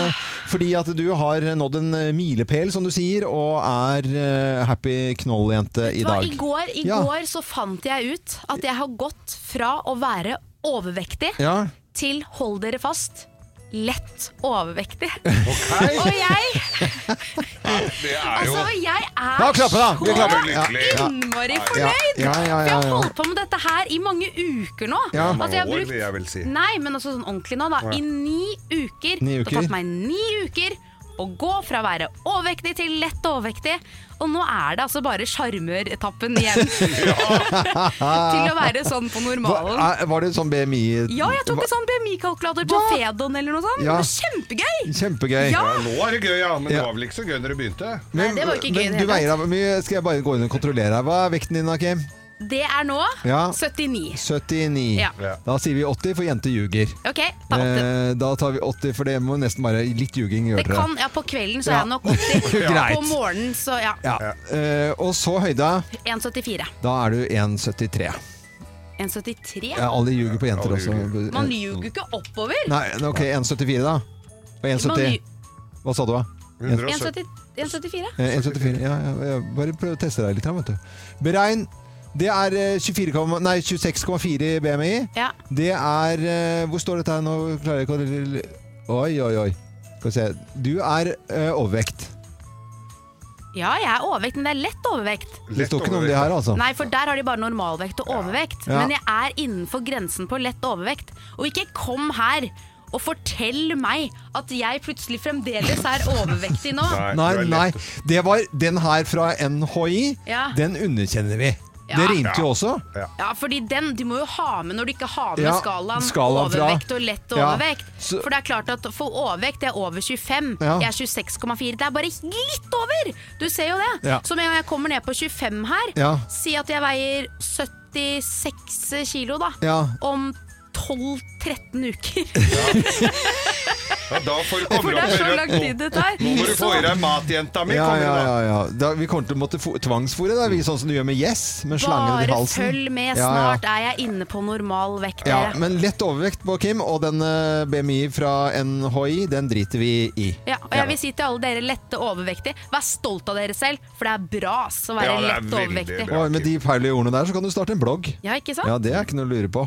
[SPEAKER 3] Fordi at du har nådd en eh, milepæl, som du sier, og er eh, happy knolljente i
[SPEAKER 5] Vet du hva,
[SPEAKER 3] dag.
[SPEAKER 5] I går, i
[SPEAKER 3] Ja.
[SPEAKER 5] går så fant jeg ut at jeg har gått fra å være overvektig
[SPEAKER 3] Ja.
[SPEAKER 5] til hold dere fast lett overvektig. Og jeg
[SPEAKER 4] Det er jo
[SPEAKER 5] Altså, jeg er
[SPEAKER 4] Da klapper da, vi
[SPEAKER 5] så
[SPEAKER 4] klapper. Ja, ja.
[SPEAKER 5] innmari
[SPEAKER 4] Ja, ja.
[SPEAKER 5] fornøyd!
[SPEAKER 4] Ja, ja, ja,
[SPEAKER 5] For jeg har
[SPEAKER 4] ja.
[SPEAKER 5] holdt på med dette her i mange uker nå.
[SPEAKER 4] Ja.
[SPEAKER 5] Altså, jeg
[SPEAKER 4] Mange
[SPEAKER 5] har
[SPEAKER 4] år,
[SPEAKER 5] brukt-
[SPEAKER 4] vil jeg vel si.
[SPEAKER 5] Nei, men også sånn ordentlig nå, da.
[SPEAKER 4] Å, ja.
[SPEAKER 5] I ni uker.
[SPEAKER 4] Ni
[SPEAKER 5] Det
[SPEAKER 4] uker.
[SPEAKER 5] har tatt meg ni uker å gå fra å være overvektig til lett overvektig. Og nå er det altså bare
[SPEAKER 4] *laughs*
[SPEAKER 5] sjarmøretappen igjen. *laughs* til å være sånn på normalen.
[SPEAKER 3] Hva- er- Var det sånn BMI
[SPEAKER 5] Ja, jeg tok en sånn BMI-kalkulator på Fedon eller noe sånt.
[SPEAKER 3] Ja.
[SPEAKER 5] Det var kjempegøy!
[SPEAKER 3] Kjempegøy.
[SPEAKER 5] Ja.
[SPEAKER 4] Nå er det gøy, ja. Men
[SPEAKER 3] Ja.
[SPEAKER 4] det var vel ikke så gøy når det begynte?
[SPEAKER 3] Men,
[SPEAKER 5] det var ikke gøy i
[SPEAKER 3] men
[SPEAKER 5] det
[SPEAKER 3] du
[SPEAKER 5] hele
[SPEAKER 3] veier deg hvor mye. Skal jeg bare gå inn og kontrollere her? Hva er vekten din, da, Kim?
[SPEAKER 5] Det er nå
[SPEAKER 3] Ja.
[SPEAKER 5] 79.
[SPEAKER 3] 79.
[SPEAKER 5] Ja.
[SPEAKER 3] Da sier vi 80, for jente ljuger.
[SPEAKER 5] Ok, da åtte.
[SPEAKER 3] Eh, da tar vi 80, for det må nesten være litt ljuging. gjør
[SPEAKER 5] Det
[SPEAKER 3] dere.
[SPEAKER 5] kan, ja, På kvelden så er
[SPEAKER 3] Ja.
[SPEAKER 5] jeg
[SPEAKER 3] *laughs*
[SPEAKER 5] nok 80.
[SPEAKER 3] Greit.
[SPEAKER 5] På morgenen så, ja.
[SPEAKER 3] Ja. Eh, og så høyde.
[SPEAKER 5] 1,74.
[SPEAKER 3] Da er du 1,73.
[SPEAKER 5] 1,73?
[SPEAKER 3] Ja, alle ljuger på jenter også. Eh,
[SPEAKER 5] Man ljuger jo ikke oppover!
[SPEAKER 3] Nei, ok, 1,74 da. Og
[SPEAKER 5] Man
[SPEAKER 3] 1,70.
[SPEAKER 5] lju-
[SPEAKER 3] Hva sa du, da?
[SPEAKER 5] 1,70 1,74?
[SPEAKER 3] Eh, 1,74. Ja, ja, ja. Bare prøv å teste deg litt, her, vet du. Beregn. Det er eh, 24,- nei, 26,4 BMI.
[SPEAKER 5] Ja.
[SPEAKER 3] Det er eh, Hvor står dette her nå? Klarer jeg ikke å Oi, oi, oi. Skal vi se. Du er eh, overvekt.
[SPEAKER 5] ja, jeg er overvekt, men det er lett overvekt.
[SPEAKER 3] Det står ikke noe om det her, altså.
[SPEAKER 5] Nei, for der har de bare normalvekt og overvekt.
[SPEAKER 3] Ja.
[SPEAKER 5] Men jeg er innenfor grensen på lett overvekt. Og ikke kom her og fortell meg at jeg plutselig fremdeles er overvektig nå.
[SPEAKER 3] Nei, nei. Det var den her fra NHI.
[SPEAKER 5] Ja.
[SPEAKER 3] Den underkjenner vi.
[SPEAKER 5] Ja.
[SPEAKER 3] Det rimte
[SPEAKER 5] Ja.
[SPEAKER 3] jo også.
[SPEAKER 5] Ja, fordi den du må jo ha med når du ikke har med
[SPEAKER 3] Ja,
[SPEAKER 5] skalaen,
[SPEAKER 3] skalaen fra-
[SPEAKER 5] overvekt og lett
[SPEAKER 3] Ja,
[SPEAKER 5] overvekt. For det er klart at for overvekt det er over 25,
[SPEAKER 3] Ja.
[SPEAKER 5] jeg er 26,4. Det er bare litt over! Du ser jo det.
[SPEAKER 3] Ja.
[SPEAKER 5] Så med en gang jeg kommer ned på 25 her,
[SPEAKER 3] Ja.
[SPEAKER 5] si at jeg veier 76 kilo da,
[SPEAKER 3] Ja.
[SPEAKER 5] om 12-13 uker.
[SPEAKER 3] *laughs*
[SPEAKER 4] Ja, da får du
[SPEAKER 5] For
[SPEAKER 4] komme opp
[SPEAKER 5] det er
[SPEAKER 4] med
[SPEAKER 5] så
[SPEAKER 4] rødt
[SPEAKER 5] lang
[SPEAKER 4] nå.
[SPEAKER 5] tid det tar.
[SPEAKER 4] Nå må du få i deg matjenta mi.
[SPEAKER 3] Ja,
[SPEAKER 4] kommer
[SPEAKER 3] ja,
[SPEAKER 4] da.
[SPEAKER 3] ja, ja. Da, vi kommer til å måtte fo- tvangsfôre deg, vi, sånn som du gjør med Yes. Med slangen i
[SPEAKER 5] Bare
[SPEAKER 3] halsen.
[SPEAKER 5] følg med,
[SPEAKER 3] Ja, ja.
[SPEAKER 5] snart er jeg inne på normal vekt.
[SPEAKER 3] Ja,
[SPEAKER 5] dere.
[SPEAKER 3] men lett overvekt på Kim, og den eh, BMI fra NHI, den driter vi i.
[SPEAKER 5] Ja, og jeg vil si til alle dere lette overvektige, vær stolt av dere selv, for det er bra ass, å være lett overvektig.
[SPEAKER 3] Og med de feil ordene der, så kan du starte en blogg.
[SPEAKER 5] Ja, ikke sant?
[SPEAKER 3] Ja, det er ikke noe å lure på.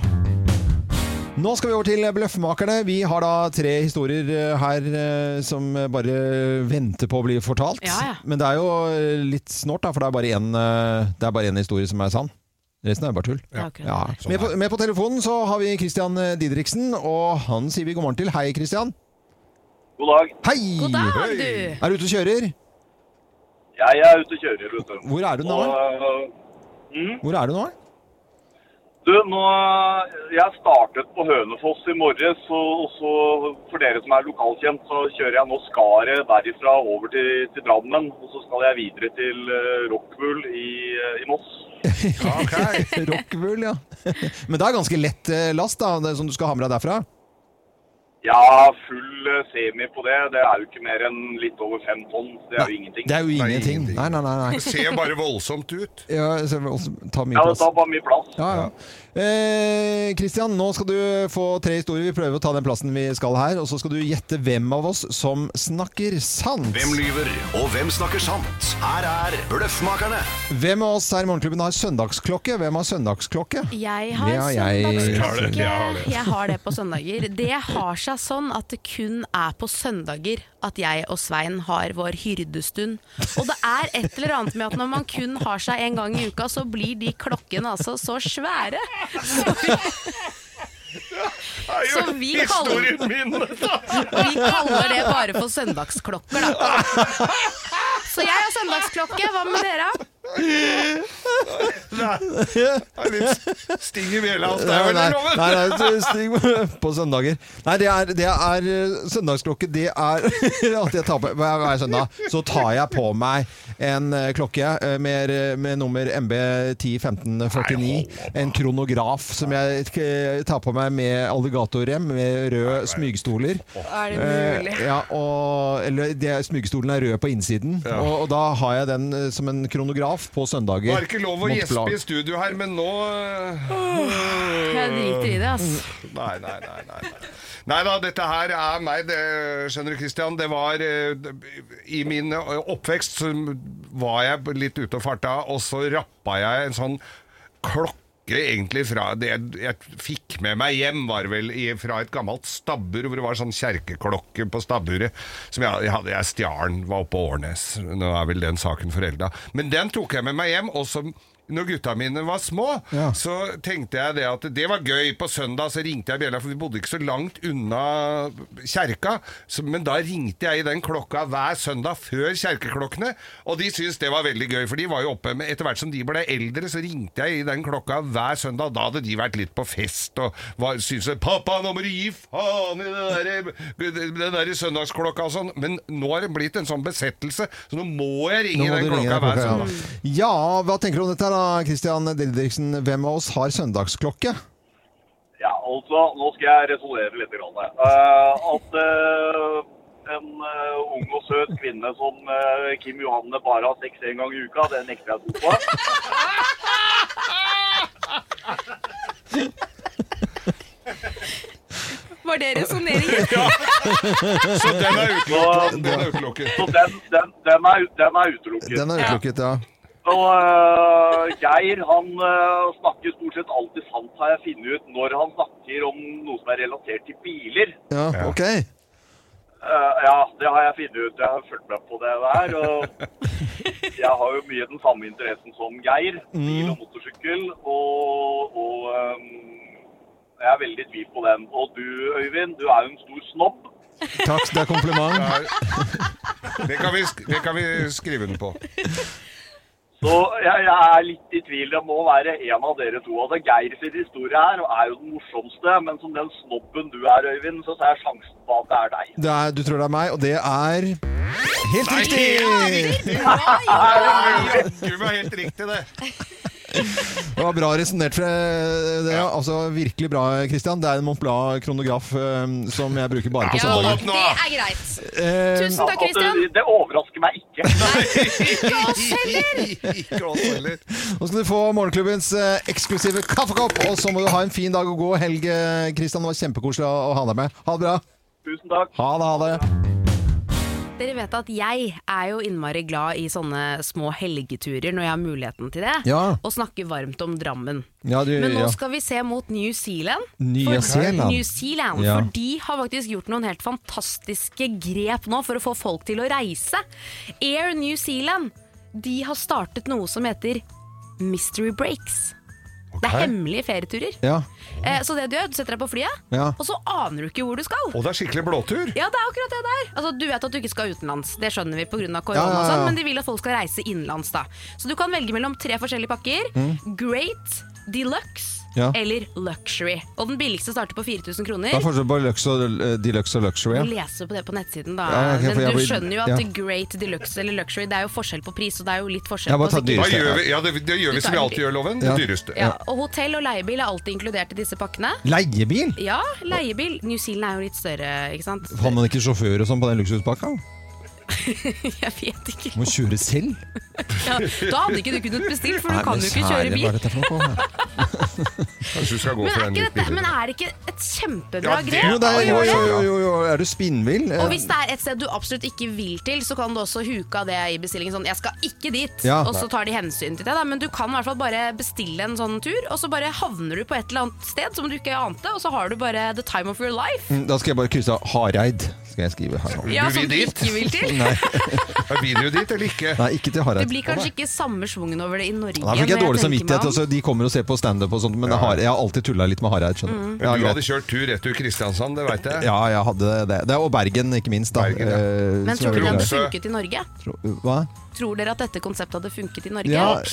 [SPEAKER 3] Nå skal vi over til Bløffmakerne. Vi har da tre historier eh, her eh, som bare venter på å bli fortalt.
[SPEAKER 5] Ja, ja.
[SPEAKER 3] Men det er jo eh, litt snålt, da, for det er bare én, eh, det er bare én historie som er sann. Resten er jo bare tull.
[SPEAKER 5] Ja, akkurat.
[SPEAKER 3] Ja. Med, på, med på telefonen så har vi Christian eh, Didriksen, og han sier vi god morgen til. Hei, Christian.
[SPEAKER 13] God dag.
[SPEAKER 3] Hei!
[SPEAKER 13] God dag,
[SPEAKER 3] Hei.
[SPEAKER 13] du.
[SPEAKER 3] Er du ute og kjører?
[SPEAKER 13] Jeg er ute og kjører. Vet du.
[SPEAKER 3] Hvor er du nå?
[SPEAKER 13] Og,
[SPEAKER 3] Hvor er du nå?
[SPEAKER 13] du, nå eh, Jeg startet på Hønefoss i morges, og og så for dere som er lokalkjent, så kjører jeg nå Skaret derifra over til, til Drammen. Og så skal jeg videre til eh, Rockwool i, eh, i Moss.
[SPEAKER 3] *laughs* Rockwool, ja. Men det er ganske lett eh, last da, det som du skal ha med deg derfra.
[SPEAKER 13] Ja, full eh, semi på det. Det er jo ikke mer enn litt over fem tonn. Det er jo ingenting.
[SPEAKER 3] Det er jo ingenting. Nei, nei, nei.
[SPEAKER 13] *laughs*
[SPEAKER 3] nei.
[SPEAKER 13] Det ser bare voldsomt
[SPEAKER 4] ut.
[SPEAKER 3] Ja, så vi også tar mye
[SPEAKER 13] Ja, det
[SPEAKER 3] plass.
[SPEAKER 13] tar bare mye plass.
[SPEAKER 3] Ja, ja. Eh, Christian, nå skal du få tre historier. Vi prøver å ta den plassen vi skal her. Og så skal du gjette hvem av oss som snakker sant.
[SPEAKER 14] Hvem lyver, og hvem snakker sant? Her er Bløffmakerne.
[SPEAKER 3] Hvem av oss her i Morgenklubben har søndagsklokke? Hvem har søndagsklokke?
[SPEAKER 5] Jeg har
[SPEAKER 3] Det har jeg.
[SPEAKER 5] søndagsklokke.
[SPEAKER 3] Jeg har det.
[SPEAKER 5] Jeg har det på søndager. Det har seg sånn at det kun er på søndager at jeg og Svein har vår hyrdestund. Og det er et eller annet med at når man kun har seg en gang i uka, så blir de klokkene altså så svære. Så vi, så vi, kaller,
[SPEAKER 4] Historien min!
[SPEAKER 3] *laughs*
[SPEAKER 5] vi kaller det bare for søndagsklokker, da. Så jeg har søndagsklokke. Hva med dere?
[SPEAKER 4] Det er litt sting i bjella hos deg,
[SPEAKER 3] Nei,
[SPEAKER 4] vel,
[SPEAKER 3] nei,
[SPEAKER 4] Loven?
[SPEAKER 3] nei, nei stig på- på søndager. Nei, det er, det er eh, søndagsklokke. Det er *laughs* at jeg tar på hver, hver søndag så tar jeg på meg en eh, klokke eh, med, med nummer MB101549. En kronograf som jeg eh, tar på meg med alligatorrem med røde smygstoler.
[SPEAKER 5] Er det mulig?
[SPEAKER 3] Eh, Ja, og, eller det- smygestolen er rød på innsiden, og, og da har jeg den eh, som en kronograf på søndager.
[SPEAKER 4] Det var ikke lov å
[SPEAKER 3] mot
[SPEAKER 4] gjespe
[SPEAKER 3] plagg.
[SPEAKER 4] i studio her, men nå eh,
[SPEAKER 5] Jeg driter i det, ass.
[SPEAKER 4] Nei, nei, nei. nei, nei. Nei da, dette her er meg, det, skjønner du Christian. Det var eh, I min eh, oppvekst så var jeg litt ute og farta, og så rappa jeg en sånn klokke ikke egentlig fra Det jeg- jeg fikk med meg hjem, var vel i, fra et gammelt stabbur, hvor det var sånn kjerkeklokke på stabburet. Som jeg, jeg hadde Jeg stjal den, var oppe på Årnes. Nå er vel den saken forelda. Men den tok jeg med meg hjem. og så når gutta mine var små, så tenkte jeg det at det var gøy. På søndag så ringte jeg bjella, for vi bodde ikke så langt unna kjerka. Så, men da ringte jeg i den klokka hver søndag før kjerkeklokkene, og de syntes det var veldig gøy, for de var jo oppe med Etter hvert som de ble eldre, så ringte jeg i den klokka hver søndag. Da hadde de vært litt på fest og var, syntes at 'Pappa, nå må du gi faen i den der, den der søndagsklokka' og sånn. Men nå har det blitt en sånn besettelse, så nå må jeg ringe i
[SPEAKER 3] Nå må
[SPEAKER 4] den
[SPEAKER 3] du ringe
[SPEAKER 4] klokka
[SPEAKER 3] den
[SPEAKER 4] hver
[SPEAKER 3] klokka,
[SPEAKER 4] søndag.
[SPEAKER 3] Ja. ja, hva tenker du om dette her da, Christian Didriksen? Hvem av oss har søndagsklokke?
[SPEAKER 12] Ja, altså, nå skal jeg resonnere litt. Grann, jeg. Eh, at eh, en eh, ung og søt kvinne som eh, Kim Johanne bare har sex en gang i uka, det nekter jeg tro på.
[SPEAKER 5] Var det resonneringen?
[SPEAKER 4] Så den er
[SPEAKER 3] *laughs*
[SPEAKER 4] utelukket. Den er utelukket.
[SPEAKER 12] Så den, den, den, er, ut- den er utelukket.
[SPEAKER 3] Den er utelukket, ja.
[SPEAKER 12] Og eh, Geir han eh, snakker stort sett alltid sant, har jeg funnet ut, når han snakker om noe som er relatert til biler.
[SPEAKER 3] Ja, ok.
[SPEAKER 12] Eh, ja, det har jeg funnet ut. Jeg har fulgt med på det der. Og jeg har jo mye den samme interessen som Geir. Bil og motorsykkel. Og, og eh, jeg er veldig i tvil på den. Og du, Øyvind, du er jo en stor snobb.
[SPEAKER 3] Takk, det er kompliment.
[SPEAKER 4] Det kan vi, sk- det kan vi skrive den på.
[SPEAKER 12] Så jeg, jeg er litt i tvil. Det må være en av dere to. Altså, Geir sin historie her er jo den morsomste, men som den snobben du er, Øyvind, så tar jeg sjansen på at det er deg.
[SPEAKER 3] Det er, du tror det er meg, og det er helt
[SPEAKER 12] Nei,
[SPEAKER 3] riktig!
[SPEAKER 4] Du var helt riktig, det.
[SPEAKER 3] Det var bra resonnert. for Det det er altså virkelig bra, Christian. Det er en Montblad kronograf eh, som jeg bruker bare på
[SPEAKER 4] Sånn
[SPEAKER 3] søndager.
[SPEAKER 8] det er greit.
[SPEAKER 3] Eh,
[SPEAKER 8] Tusen takk, Christian.
[SPEAKER 12] Det overrasker meg ikke.
[SPEAKER 8] Ikke oss heller!
[SPEAKER 4] *laughs*
[SPEAKER 3] Nå skal du få morgenklubbens eh, eksklusive kaffekopp, og så må du ha en fin dag og god helg. eh, Christian, det var kjempekoselig å ha deg med. Ha det bra.
[SPEAKER 12] Tusen takk.
[SPEAKER 3] Ha det, ha det.
[SPEAKER 5] Dere vet at jeg er jo innmari glad i sånne små helgeturer når jeg har muligheten til det,
[SPEAKER 3] Ja.
[SPEAKER 5] og snakker varmt om Drammen.
[SPEAKER 3] Ja, du,
[SPEAKER 5] Men nå
[SPEAKER 3] ja.
[SPEAKER 5] skal vi se mot New Zealand.
[SPEAKER 3] Nye
[SPEAKER 5] For-
[SPEAKER 3] Zealand.
[SPEAKER 5] New Zealand
[SPEAKER 3] Ja.
[SPEAKER 5] For de har faktisk gjort noen helt fantastiske grep nå for å få folk til å reise. Air New Zealand De har startet noe som heter Mystery Breaks. Det er
[SPEAKER 4] Ok.
[SPEAKER 5] hemmelige ferieturer.
[SPEAKER 3] Ja.
[SPEAKER 5] Eh, så det du gjør, du setter deg på flyet,
[SPEAKER 4] Ja.
[SPEAKER 5] og så aner du ikke hvor du skal.
[SPEAKER 4] Og det er skikkelig blåtur.
[SPEAKER 5] Ja, det er akkurat det der. Altså, du vet at du ikke skal utenlands, det skjønner vi pga. korona,
[SPEAKER 4] Ja, ja,
[SPEAKER 5] og
[SPEAKER 4] ja.
[SPEAKER 5] Sånn, men de vil at folk skal reise innenlands. da. Så du kan velge mellom tre forskjellige pakker.
[SPEAKER 3] Mm.
[SPEAKER 5] Great, Deluxe
[SPEAKER 3] Ja.
[SPEAKER 5] eller Luxury. Og den billigste starter på 4000
[SPEAKER 3] Det er
[SPEAKER 5] kroner.
[SPEAKER 3] forskjell på lux og deluxe og luxury.
[SPEAKER 5] Du
[SPEAKER 3] ja.
[SPEAKER 5] leser på det på nettsiden,
[SPEAKER 3] Ja,
[SPEAKER 5] da.
[SPEAKER 3] ja, ok, for jeg
[SPEAKER 5] men du
[SPEAKER 3] blir-
[SPEAKER 5] skjønner jo at
[SPEAKER 3] ja.
[SPEAKER 5] Great, Deluxe eller Luxury Det er jo forskjell på pris, og det er jo litt forskjell
[SPEAKER 3] Jeg bare
[SPEAKER 5] på
[SPEAKER 3] tar
[SPEAKER 5] sikkert-
[SPEAKER 4] Da gjør vi, ja, det, det gjør vi som vi alltid gjør, Loven. Det
[SPEAKER 3] Ja.
[SPEAKER 4] dyreste.
[SPEAKER 5] Ja, og hotell og leiebil er alltid inkludert i disse pakkene.
[SPEAKER 3] Leiebil?
[SPEAKER 5] Ja, leiebil. New Zealand er jo litt større, ikke sant?
[SPEAKER 3] Har man ikke sjåfør og sånn på den luksuspakka?
[SPEAKER 5] *laughs* Jeg vet ikke.
[SPEAKER 3] Må kjøre selv?
[SPEAKER 5] Ja, da hadde ikke du kunnet bestille, for du
[SPEAKER 3] Nei,
[SPEAKER 5] kan
[SPEAKER 3] men
[SPEAKER 5] jo ikke
[SPEAKER 3] kjære,
[SPEAKER 5] kjøre
[SPEAKER 3] hva er
[SPEAKER 5] bil.
[SPEAKER 3] dette for noe?
[SPEAKER 5] *laughs*
[SPEAKER 4] Kanskje du skal gå
[SPEAKER 5] Men
[SPEAKER 4] for
[SPEAKER 5] er,
[SPEAKER 4] den
[SPEAKER 5] ikke
[SPEAKER 4] litt
[SPEAKER 5] dette, men
[SPEAKER 4] billigere.
[SPEAKER 5] er det ikke et
[SPEAKER 4] Ja,
[SPEAKER 5] kjempebra
[SPEAKER 4] det
[SPEAKER 5] grep?
[SPEAKER 3] Jo, det er,
[SPEAKER 5] å
[SPEAKER 3] jo,
[SPEAKER 5] gjøre?
[SPEAKER 3] jo, jo, jo, er du spinnvill? Eh,
[SPEAKER 5] Og hvis det er et sted du absolutt ikke vil til, så kan du også huke av det i bestillingen. Sånn, jeg skal ikke dit,
[SPEAKER 3] Ja.
[SPEAKER 5] og så tar de hensyn til det. Da. Men du kan i hvert fall bare bestille en sånn tur, og så bare havner du på et eller annet sted som du ikke ante, og så har du bare the time of your life.
[SPEAKER 3] Mm, Da skal jeg bare krysse av Hareid. Skal jeg skrive her nå.
[SPEAKER 5] Ja, sånn som du ikke vil
[SPEAKER 4] *laughs*
[SPEAKER 5] til.
[SPEAKER 3] Nei.
[SPEAKER 4] Vil du dit eller ikke?
[SPEAKER 3] Nei, ikke til Hareid.
[SPEAKER 5] Det blir kanskje ikke samme svungen over det i Norge.
[SPEAKER 3] Da fikk jeg
[SPEAKER 5] når
[SPEAKER 3] dårlig
[SPEAKER 5] tenker meg
[SPEAKER 3] samvittighet.
[SPEAKER 5] om.
[SPEAKER 3] Altså, de kommer og ser på standup og sånt, men Hareid- jeg har alltid tulla litt med Hareid. skjønner
[SPEAKER 4] Men
[SPEAKER 3] Mm. du. Ja,
[SPEAKER 4] du
[SPEAKER 3] greit.
[SPEAKER 4] hadde kjørt tur rett til Kristiansand, det veit jeg.
[SPEAKER 3] ja, jeg hadde det. det. er- Og Bergen, ikke minst. Da. Eh,
[SPEAKER 5] Men
[SPEAKER 3] som
[SPEAKER 5] tror
[SPEAKER 3] jeg
[SPEAKER 5] dere at det
[SPEAKER 3] ville-
[SPEAKER 5] funket i Norge?
[SPEAKER 3] Tro- Hva?
[SPEAKER 5] Tror dere at dette konseptet hadde funket i Norge?
[SPEAKER 3] Ja, jeg,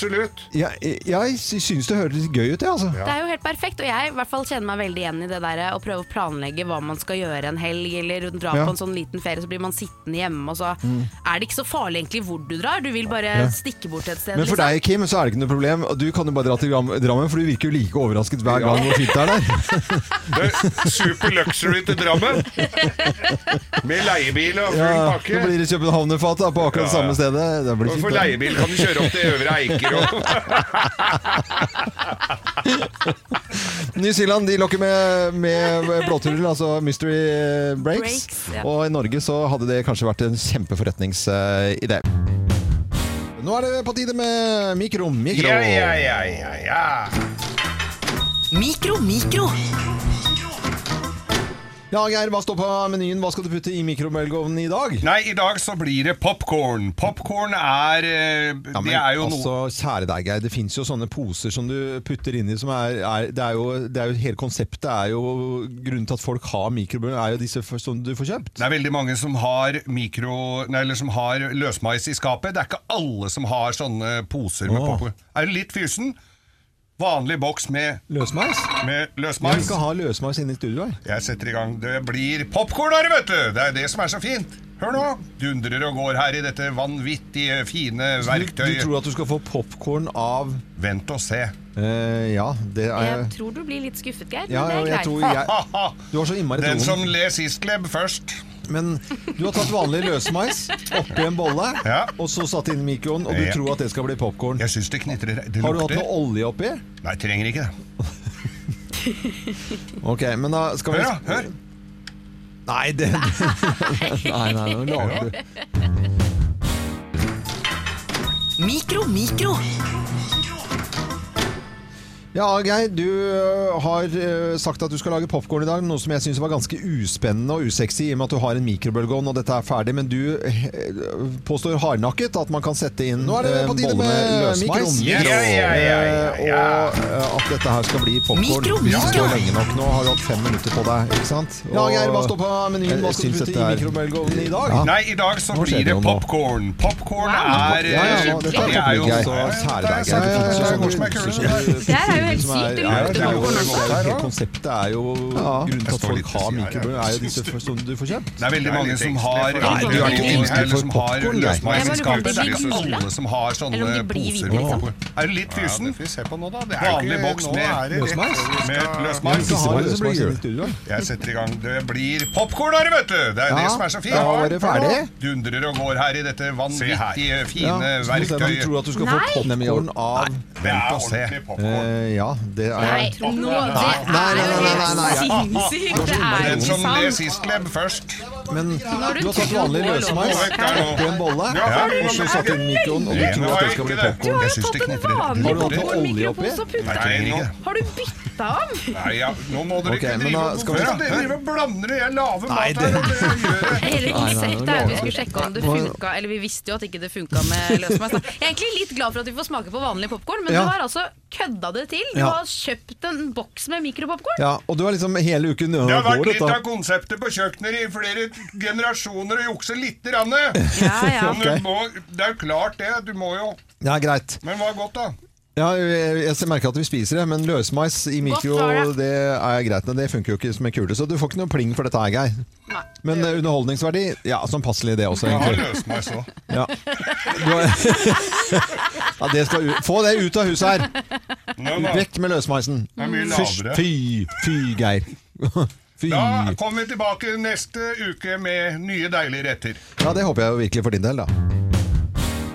[SPEAKER 3] jeg syns det høres gøy ut, jeg, altså.
[SPEAKER 5] Det er jo helt perfekt, og jeg i hvert fall kjenner meg veldig igjen i det der eh, å prøve å planlegge hva man skal gjøre en helg, eller dra
[SPEAKER 3] Ja.
[SPEAKER 5] på en sånn liten ferie, så blir man sittende hjemme, og så
[SPEAKER 3] Mm.
[SPEAKER 5] er det ikke så farlig egentlig hvor du drar, du vil bare
[SPEAKER 3] Ja.
[SPEAKER 5] stikke bort et sted.
[SPEAKER 3] Men
[SPEAKER 5] liksom.
[SPEAKER 3] for deg, Kim, så er det ikke noe problem. Du kan jo bare dra til Gram- Drammen, for du virker jo like overrasket hver gang hvor fint det er der.
[SPEAKER 4] Super luxury til Drammen! Med leiebil og full
[SPEAKER 3] Ja,
[SPEAKER 4] pakke.
[SPEAKER 3] nå blir det Københavnerfat da, på akkurat
[SPEAKER 4] Ja, ja.
[SPEAKER 3] samme stedet. Det blir
[SPEAKER 4] Og for
[SPEAKER 3] fint, da.
[SPEAKER 4] leiebil kan du kjøre opp til Øvre Eiker og
[SPEAKER 3] *laughs* New Zealand de lokker med, med blåturer, altså mystery breaks.
[SPEAKER 8] Breaks, ja.
[SPEAKER 3] Og i Norge så hadde det kanskje vært en eh, kjempeforretningsidé. Nå er det på tide med mikro, mikro.
[SPEAKER 4] Ja, ja, ja, ja, ja.
[SPEAKER 15] Mikro, mikro.
[SPEAKER 3] Mm. Ja, Geir, hva står på menyen? Hva skal du putte i mikrobølgeovnen i dag?
[SPEAKER 4] Nei, i dag så blir det popkorn. Popkorn er eh,
[SPEAKER 3] Ja, men
[SPEAKER 4] Det er jo
[SPEAKER 3] altså,
[SPEAKER 4] noe
[SPEAKER 3] Kjære deg, Geir. Det fins jo sånne poser som du putter inni som er, er, det er jo, det er jo Hele konseptet er jo Grunnen til at folk har mikrobølger, er jo disse f- som du får kjøpt.
[SPEAKER 4] Det er veldig mange som har, mikro, nei, eller som har løsmais i skapet. Det er ikke alle som har sånne poser med
[SPEAKER 3] Åh.
[SPEAKER 4] popkorn. Er du litt fysen? Vanlig boks med
[SPEAKER 3] Løsmeis?
[SPEAKER 4] Med
[SPEAKER 3] Jeg
[SPEAKER 4] løsmeis.
[SPEAKER 3] skal ha løsmeis inne i studioet her.
[SPEAKER 4] Jeg setter i gang. Det blir popkorn her, vet du! Det er det som er så fint. Hør nå. Dundrer og går her i dette vanvittige, fine
[SPEAKER 3] Så Du, du
[SPEAKER 4] verktøyet.
[SPEAKER 3] tror at du skal få popkorn av eh,
[SPEAKER 4] Vent og se.
[SPEAKER 3] ja, det er
[SPEAKER 5] Jeg tror du blir litt skuffet, Geir.
[SPEAKER 3] Ja,
[SPEAKER 5] men det
[SPEAKER 3] jeg
[SPEAKER 5] er
[SPEAKER 3] tror
[SPEAKER 5] greit.
[SPEAKER 3] jeg, Du har så innmari
[SPEAKER 4] Den
[SPEAKER 3] troen.
[SPEAKER 4] som ler sist, klebb først.
[SPEAKER 3] Men du har tatt vanlig løsmeis oppi en bolle, og så satt inn i mikroen, og du
[SPEAKER 4] Ja.
[SPEAKER 3] tror at det skal bli popkorn.
[SPEAKER 4] Jeg syns det knitrer. Det
[SPEAKER 3] Har du hatt
[SPEAKER 4] lukter.
[SPEAKER 3] noe olje oppi?
[SPEAKER 4] Nei, trenger ikke det.
[SPEAKER 3] Ok, men da skal vi
[SPEAKER 4] Hør, da, hør.
[SPEAKER 3] Nei, det
[SPEAKER 14] *laughs*
[SPEAKER 3] Nei, nei, nå lager du
[SPEAKER 15] Mikro, mikro.
[SPEAKER 3] Ja, Geir, du ø, har ø, sagt at du skal lage popkorn i dag, noe som jeg syns var ganske uspennende og usexy i og med at du har en mikrobølgeovn og dette er ferdig, men du ø, påstår hardnakket at man kan sette inn eh,
[SPEAKER 14] Nå er det
[SPEAKER 3] ø,
[SPEAKER 14] på tide
[SPEAKER 3] bolle
[SPEAKER 14] med
[SPEAKER 3] løsmeis.
[SPEAKER 14] mikro. Ja, ja, ja, ja, ja.
[SPEAKER 3] Og ø, eh, at dette her skal bli popkorn
[SPEAKER 14] Mikro,
[SPEAKER 3] hvis
[SPEAKER 14] mikro.
[SPEAKER 3] det står lenge nok. Nå har du hatt fem minutter på deg, ikke sant? Ja, Geir, hva står på menyen? Hva skal du putte i mikrobølgeovnen i dag?
[SPEAKER 4] Ah. Nei, i dag så
[SPEAKER 3] Nå skjer det
[SPEAKER 4] blir det
[SPEAKER 3] jo nå.
[SPEAKER 4] popkorn. Popkorn
[SPEAKER 3] Ja,
[SPEAKER 4] er
[SPEAKER 3] ja, ja, nå- dette er
[SPEAKER 4] det jo
[SPEAKER 3] popkorn, Geir.
[SPEAKER 4] så-
[SPEAKER 3] Kjære deg,
[SPEAKER 4] Ja, ja,
[SPEAKER 3] Geir.
[SPEAKER 4] ja,
[SPEAKER 3] Det finnes jo
[SPEAKER 4] ja,
[SPEAKER 3] sånne
[SPEAKER 4] går som ei kule.
[SPEAKER 3] som er-
[SPEAKER 4] Det her er
[SPEAKER 3] som ja, det er jo- det
[SPEAKER 4] jo helt sykt, det lukter popcorn også.
[SPEAKER 3] er jo- Hele konseptet er jo Grunnen til at
[SPEAKER 4] står
[SPEAKER 3] folk
[SPEAKER 4] litt
[SPEAKER 3] har
[SPEAKER 4] ved siden her,
[SPEAKER 3] mikrobølger,
[SPEAKER 4] ja.
[SPEAKER 3] er jo disse f- som du får kjøpt.
[SPEAKER 4] Det er veldig mange som har
[SPEAKER 3] Nei, du er ikke engstelig for
[SPEAKER 4] som har
[SPEAKER 3] popcorn, Geir.
[SPEAKER 4] løsmeis i skapet. Det er
[SPEAKER 3] Nei,
[SPEAKER 4] ikke alle som har
[SPEAKER 3] Eller om
[SPEAKER 4] sånne
[SPEAKER 3] de blir
[SPEAKER 4] poser
[SPEAKER 3] hvite,
[SPEAKER 4] med
[SPEAKER 3] liksom.
[SPEAKER 4] popcorn. Er du litt fysen? Vanlig
[SPEAKER 14] Vanlig
[SPEAKER 4] boks med
[SPEAKER 14] løsmeis.
[SPEAKER 4] Med
[SPEAKER 3] Ja,
[SPEAKER 4] løsmeis.
[SPEAKER 3] hvis det var løsmeis inne i studioet.
[SPEAKER 4] Jeg setter i gang. Det blir popkorn her, vet du! Det er
[SPEAKER 3] Ja,
[SPEAKER 4] det som er så fint.
[SPEAKER 3] da var det ferdig.
[SPEAKER 4] Dundrer og går her i dette vanvittige, fine
[SPEAKER 3] Ja, så du ser at
[SPEAKER 4] verktøyet.
[SPEAKER 3] Du tror at du skal få popkorn av
[SPEAKER 4] Det er ordentlig popcorn.
[SPEAKER 3] Eh, Ja, det er
[SPEAKER 4] Nei, nå- det
[SPEAKER 3] Nei, nei, nei, nei, nei, nei, nei.
[SPEAKER 4] Sinnssykt,
[SPEAKER 3] det er
[SPEAKER 4] Den
[SPEAKER 3] ikke
[SPEAKER 4] som
[SPEAKER 3] sant.
[SPEAKER 4] ler sist, klebb først.
[SPEAKER 3] Men du
[SPEAKER 4] Når du
[SPEAKER 3] har tatt
[SPEAKER 4] tror
[SPEAKER 3] vanlig
[SPEAKER 4] på
[SPEAKER 3] løsmeis
[SPEAKER 4] lov.
[SPEAKER 3] oppi en bolle,
[SPEAKER 4] Ja, for
[SPEAKER 3] og så
[SPEAKER 4] det-
[SPEAKER 3] satt inn i mikroen, og du
[SPEAKER 4] Nei,
[SPEAKER 3] tror
[SPEAKER 4] nå
[SPEAKER 3] at
[SPEAKER 4] er
[SPEAKER 3] det skal
[SPEAKER 4] ikke
[SPEAKER 3] bli
[SPEAKER 4] det.
[SPEAKER 3] popcorn.
[SPEAKER 4] Jeg syns det knitrer.
[SPEAKER 3] Har du hatt noe olje oppi?
[SPEAKER 4] Nei, nå-
[SPEAKER 5] Har du bytta om?
[SPEAKER 4] Nei, ja, nå må dere
[SPEAKER 3] Ok,
[SPEAKER 4] ikke
[SPEAKER 3] men
[SPEAKER 4] drive
[SPEAKER 3] da
[SPEAKER 4] og-
[SPEAKER 3] skal vi-
[SPEAKER 4] Hvorfor dere driver og blander det? Jeg lager
[SPEAKER 3] Nei,
[SPEAKER 4] mat
[SPEAKER 3] det-
[SPEAKER 4] her, og dere gjør det.
[SPEAKER 5] Hele
[SPEAKER 3] Nei, nei,
[SPEAKER 5] konseptet
[SPEAKER 3] nå
[SPEAKER 5] er at vi
[SPEAKER 3] lover
[SPEAKER 5] skulle
[SPEAKER 3] jeg.
[SPEAKER 5] sjekke om det
[SPEAKER 3] Nå-
[SPEAKER 5] funka, eller vi visste jo at ikke det funka
[SPEAKER 3] *laughs*
[SPEAKER 5] med løsmeis. da. Jeg er egentlig litt glad for at vi får smake på vanlig popkorn, men
[SPEAKER 3] Ja.
[SPEAKER 5] du har altså kødda det til. Du
[SPEAKER 3] Ja.
[SPEAKER 5] har kjøpt en boks med mikropopkorn.
[SPEAKER 3] Ja, og du har liksom hele uken
[SPEAKER 4] Det har vært
[SPEAKER 3] går
[SPEAKER 4] litt
[SPEAKER 3] dette.
[SPEAKER 4] av konseptet på kjøkkenet i flere generasjoner å jukse lite grann.
[SPEAKER 3] ja.
[SPEAKER 4] Men du må- Det er jo klart det. Du må jo
[SPEAKER 3] Ja, greit.
[SPEAKER 4] Men hva er godt, da?
[SPEAKER 3] Ja, jeg jeg merker at vi spiser det, men løsmeis i mikro
[SPEAKER 4] var det.
[SPEAKER 3] det er greit. men Det funker jo ikke som en kule, så du får ikke noe pling for dette her, Geir. Men eh, underholdningsverdi, ja, sånn passelig det også,
[SPEAKER 4] Jeg har
[SPEAKER 3] egentlig.
[SPEAKER 4] løsmeis òg.
[SPEAKER 3] Ja. Du har- *laughs* ja, det skal ut. Få det ut av huset her!
[SPEAKER 4] da.
[SPEAKER 3] Vekk med løsmeisen.
[SPEAKER 4] Det er mye
[SPEAKER 3] Fysj,
[SPEAKER 4] lavere.
[SPEAKER 3] Fy, fy, Geir. *laughs* Fy.
[SPEAKER 4] Da kommer vi tilbake neste uke med nye deilige retter.
[SPEAKER 3] Ja, det håper jeg jo virkelig for din del, da.